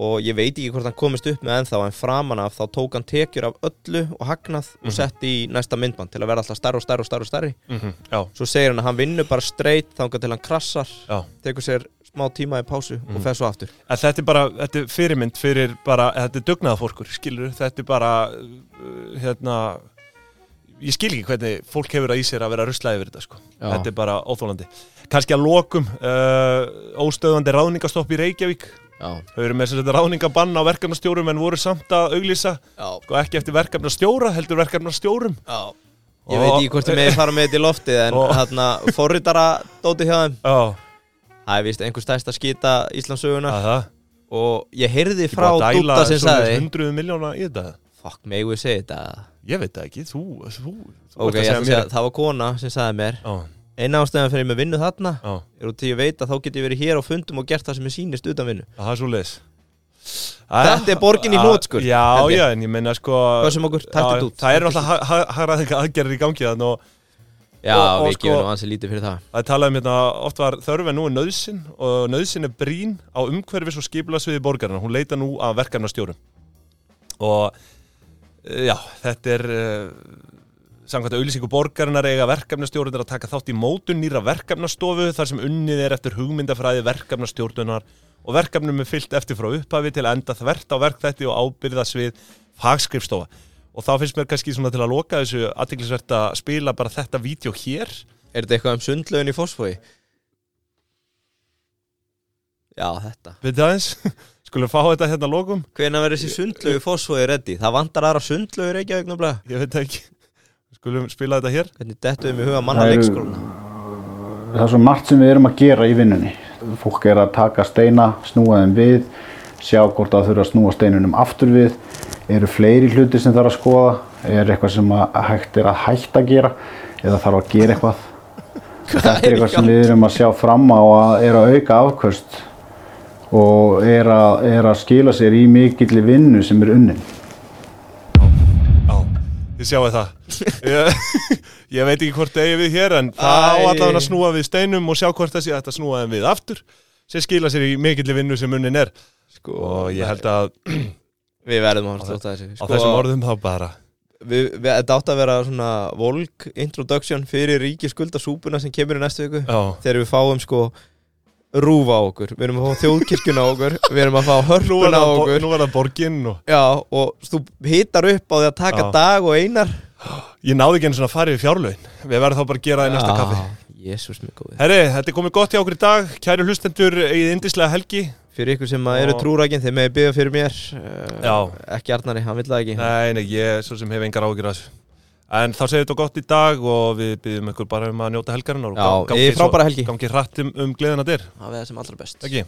Speaker 3: og ég veit ekki hvort hann komist upp með ennþá en framan af þá tók hann tekjur af öllu og hagnað og sett í næsta myndband til að vera alltaf stærri og stærri og stærri og stærri
Speaker 1: mhm, já,
Speaker 3: Svo segir hann að hann vinnur bara straight þangar til hann krassar
Speaker 1: já
Speaker 3: tekur sér
Speaker 4: smá tíma í pásu og fer svo aftur
Speaker 1: En þetta er bara, þetta er fyrirmynd fyrir bara, þetta er dugnaðafólkur, skilur, þetta er bara, uh, hérna, ég skil ekki hvernig fólk hefur að í sér að vera ruslaði yfir þetta, sko.
Speaker 3: Já.
Speaker 1: Þetta er bara óþólandi. Kanski að lokum, uh, óstöðandi ráðningastopp í Reykjavík,
Speaker 3: já,
Speaker 1: þau eru með sem þetta ráðningabann á verkefnastjórum en voru samt að auglýsa,
Speaker 3: já,
Speaker 1: sko ekki eftir verkefnastjóra, heldur verkefnastjórum.
Speaker 3: já. Ég veit ekki hvort þið meði fara með þetta í loftið en
Speaker 1: Og-
Speaker 3: þarna forritara dóti hjá þeim
Speaker 1: Já,
Speaker 3: Það er vist einhver stærsta skýta Íslandsugunar
Speaker 1: að það.
Speaker 3: og ég heyrði
Speaker 1: Ég
Speaker 3: frá
Speaker 1: búið að dæla
Speaker 3: Dúta sem
Speaker 1: svoleiðis
Speaker 3: sagði
Speaker 1: hundruð miljóna í þetta.
Speaker 3: Fuck, megu ég segja þetta
Speaker 1: Ég veit það ekki, þú, þú, þú
Speaker 3: Ok,
Speaker 1: ert
Speaker 3: ég ætla að segja,
Speaker 1: mér-
Speaker 3: það var kona sem sagði mér
Speaker 1: Já,
Speaker 3: Einn ástæðan fyrir ég með vinnu þarna
Speaker 1: já,
Speaker 3: er út til ég veit að þá get ég verið hér á fundum og gert það sem ég sýnist utan vinnu
Speaker 1: það er svo leis
Speaker 3: Þetta er borgin í hnotskurn,
Speaker 1: Já,
Speaker 3: held ég.
Speaker 1: já, en ég meina sko
Speaker 3: Hvað sem okkur,
Speaker 1: já,
Speaker 3: takt þetta út
Speaker 1: Það er náttúrulega hagræðinga aðgerðir í gangi þannig og
Speaker 3: Já,
Speaker 1: og- og
Speaker 3: við
Speaker 1: sko-
Speaker 3: gefum nú ansið lítið fyrir það
Speaker 1: það er talað um hérna oft var þörf en nú er nöðsin og nöðsin er brín á umhverfis og skipilagsviði borgarna hún leita nú að verkefnastjórum og eh, já, þetta er eh, samkvæmt auðlýsingu borgarinnar eiga verkefnastjórunir að taka þátt í mótun nýra verkefnastofu þar sem unnið er eftir hugmyndafræði verkefnastjórnunar og verkefnum er fyllt eftir frá upphafi til að enda þvert á verkþætti og ábyrðasvið fagskrifstofa og þá finnst mér kannski svona til að loka þessu aðtiklisvert að spila bara þetta vídeo hér
Speaker 3: Er þetta eitthvað um sundlaugin í fósfói? Já, þetta
Speaker 1: Við aðeins, [LAUGHS] skulum fá þetta hérna að lokum
Speaker 3: Hvenær verður þessi sundlaug í fósfói reddi? Það vantar aðra sundlaug í Reykjavík nefnilega
Speaker 1: Ég veit það ekki, skulum spila þetta hér
Speaker 3: Hvernig dettuðum í huga manna
Speaker 5: Það eru-
Speaker 3: leikskóluna?
Speaker 5: það er svo margt sem við erum að gera í vinnunni. Fólk er að taka steina, snúa þeim við, sjá hvort það þurfa að snúa steinunum aftur við, eru fleiri hluti sem þarf að skoða, er eitthvað sem að hægt er að hægt að gera eða þarf að gera eitthvað. Þetta er eitthvað sem við erum að sjá fram á að er að auka afkvöst og er að, er að skila sér í mikilli vinnu sem er unnin.
Speaker 1: Já, þið sjáu það ég, [LAUGHS] ég veit ekki hvort eigi við hér en það á
Speaker 3: Æ.
Speaker 1: allan að snúa við steinum og sjá hvort það sé hægt að snúa þeim við aftur sem skila sér í mikilli vinnu sem munnin er
Speaker 3: Sko,
Speaker 1: og ég held að
Speaker 3: Við verðum að horfa þótt að þessu sko.
Speaker 1: á þessum orðum þá bara
Speaker 3: við, við, Þetta átt að vera svona volk introduction fyrir ríkiskuldasúpuna sem kemur í næstu viku
Speaker 1: Já,
Speaker 3: Þegar við fáum sko rúfa á okkur Við erum að fá þjóðkirkjuna á okkur Við erum að fá
Speaker 1: nú er
Speaker 3: hörpuna á
Speaker 1: það, bo-
Speaker 3: okkur
Speaker 1: nú er það borginn og
Speaker 3: Já, og þú hittar upp á því að taka
Speaker 1: Já.
Speaker 3: dag og einar
Speaker 1: ég náði ekki einu svona að fara yfir fjárlögin við verðum þá bara að gera það í næsta kaffi
Speaker 3: Jésús minn góði
Speaker 1: Herri, þetta er komið gott hjá okkur í dag kæri hlustendur, eigið indislega helgi
Speaker 3: Fyrir ykkur sem að eru
Speaker 1: Og-
Speaker 3: trúrækin þeir meði byggja fyrir mér
Speaker 1: Já.
Speaker 3: uh, Ekki Arnari, hann vill það ekki
Speaker 1: Nei, nei, ég svo sem hef engar áhyggjur af þessu En þá segir þetta gott í dag og við byggjum ykkur bara um að njóta helgarinnar og
Speaker 3: Já,
Speaker 1: gang- gangi
Speaker 3: eigið
Speaker 1: svo-
Speaker 3: frábæra helgi.
Speaker 1: Gangi hratt um, um gleðina dyr,
Speaker 3: Það veða sem allra best
Speaker 1: ekki?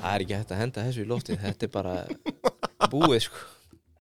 Speaker 3: Það er ekki hægt að henda þessu í loftið Þetta er bara búið sko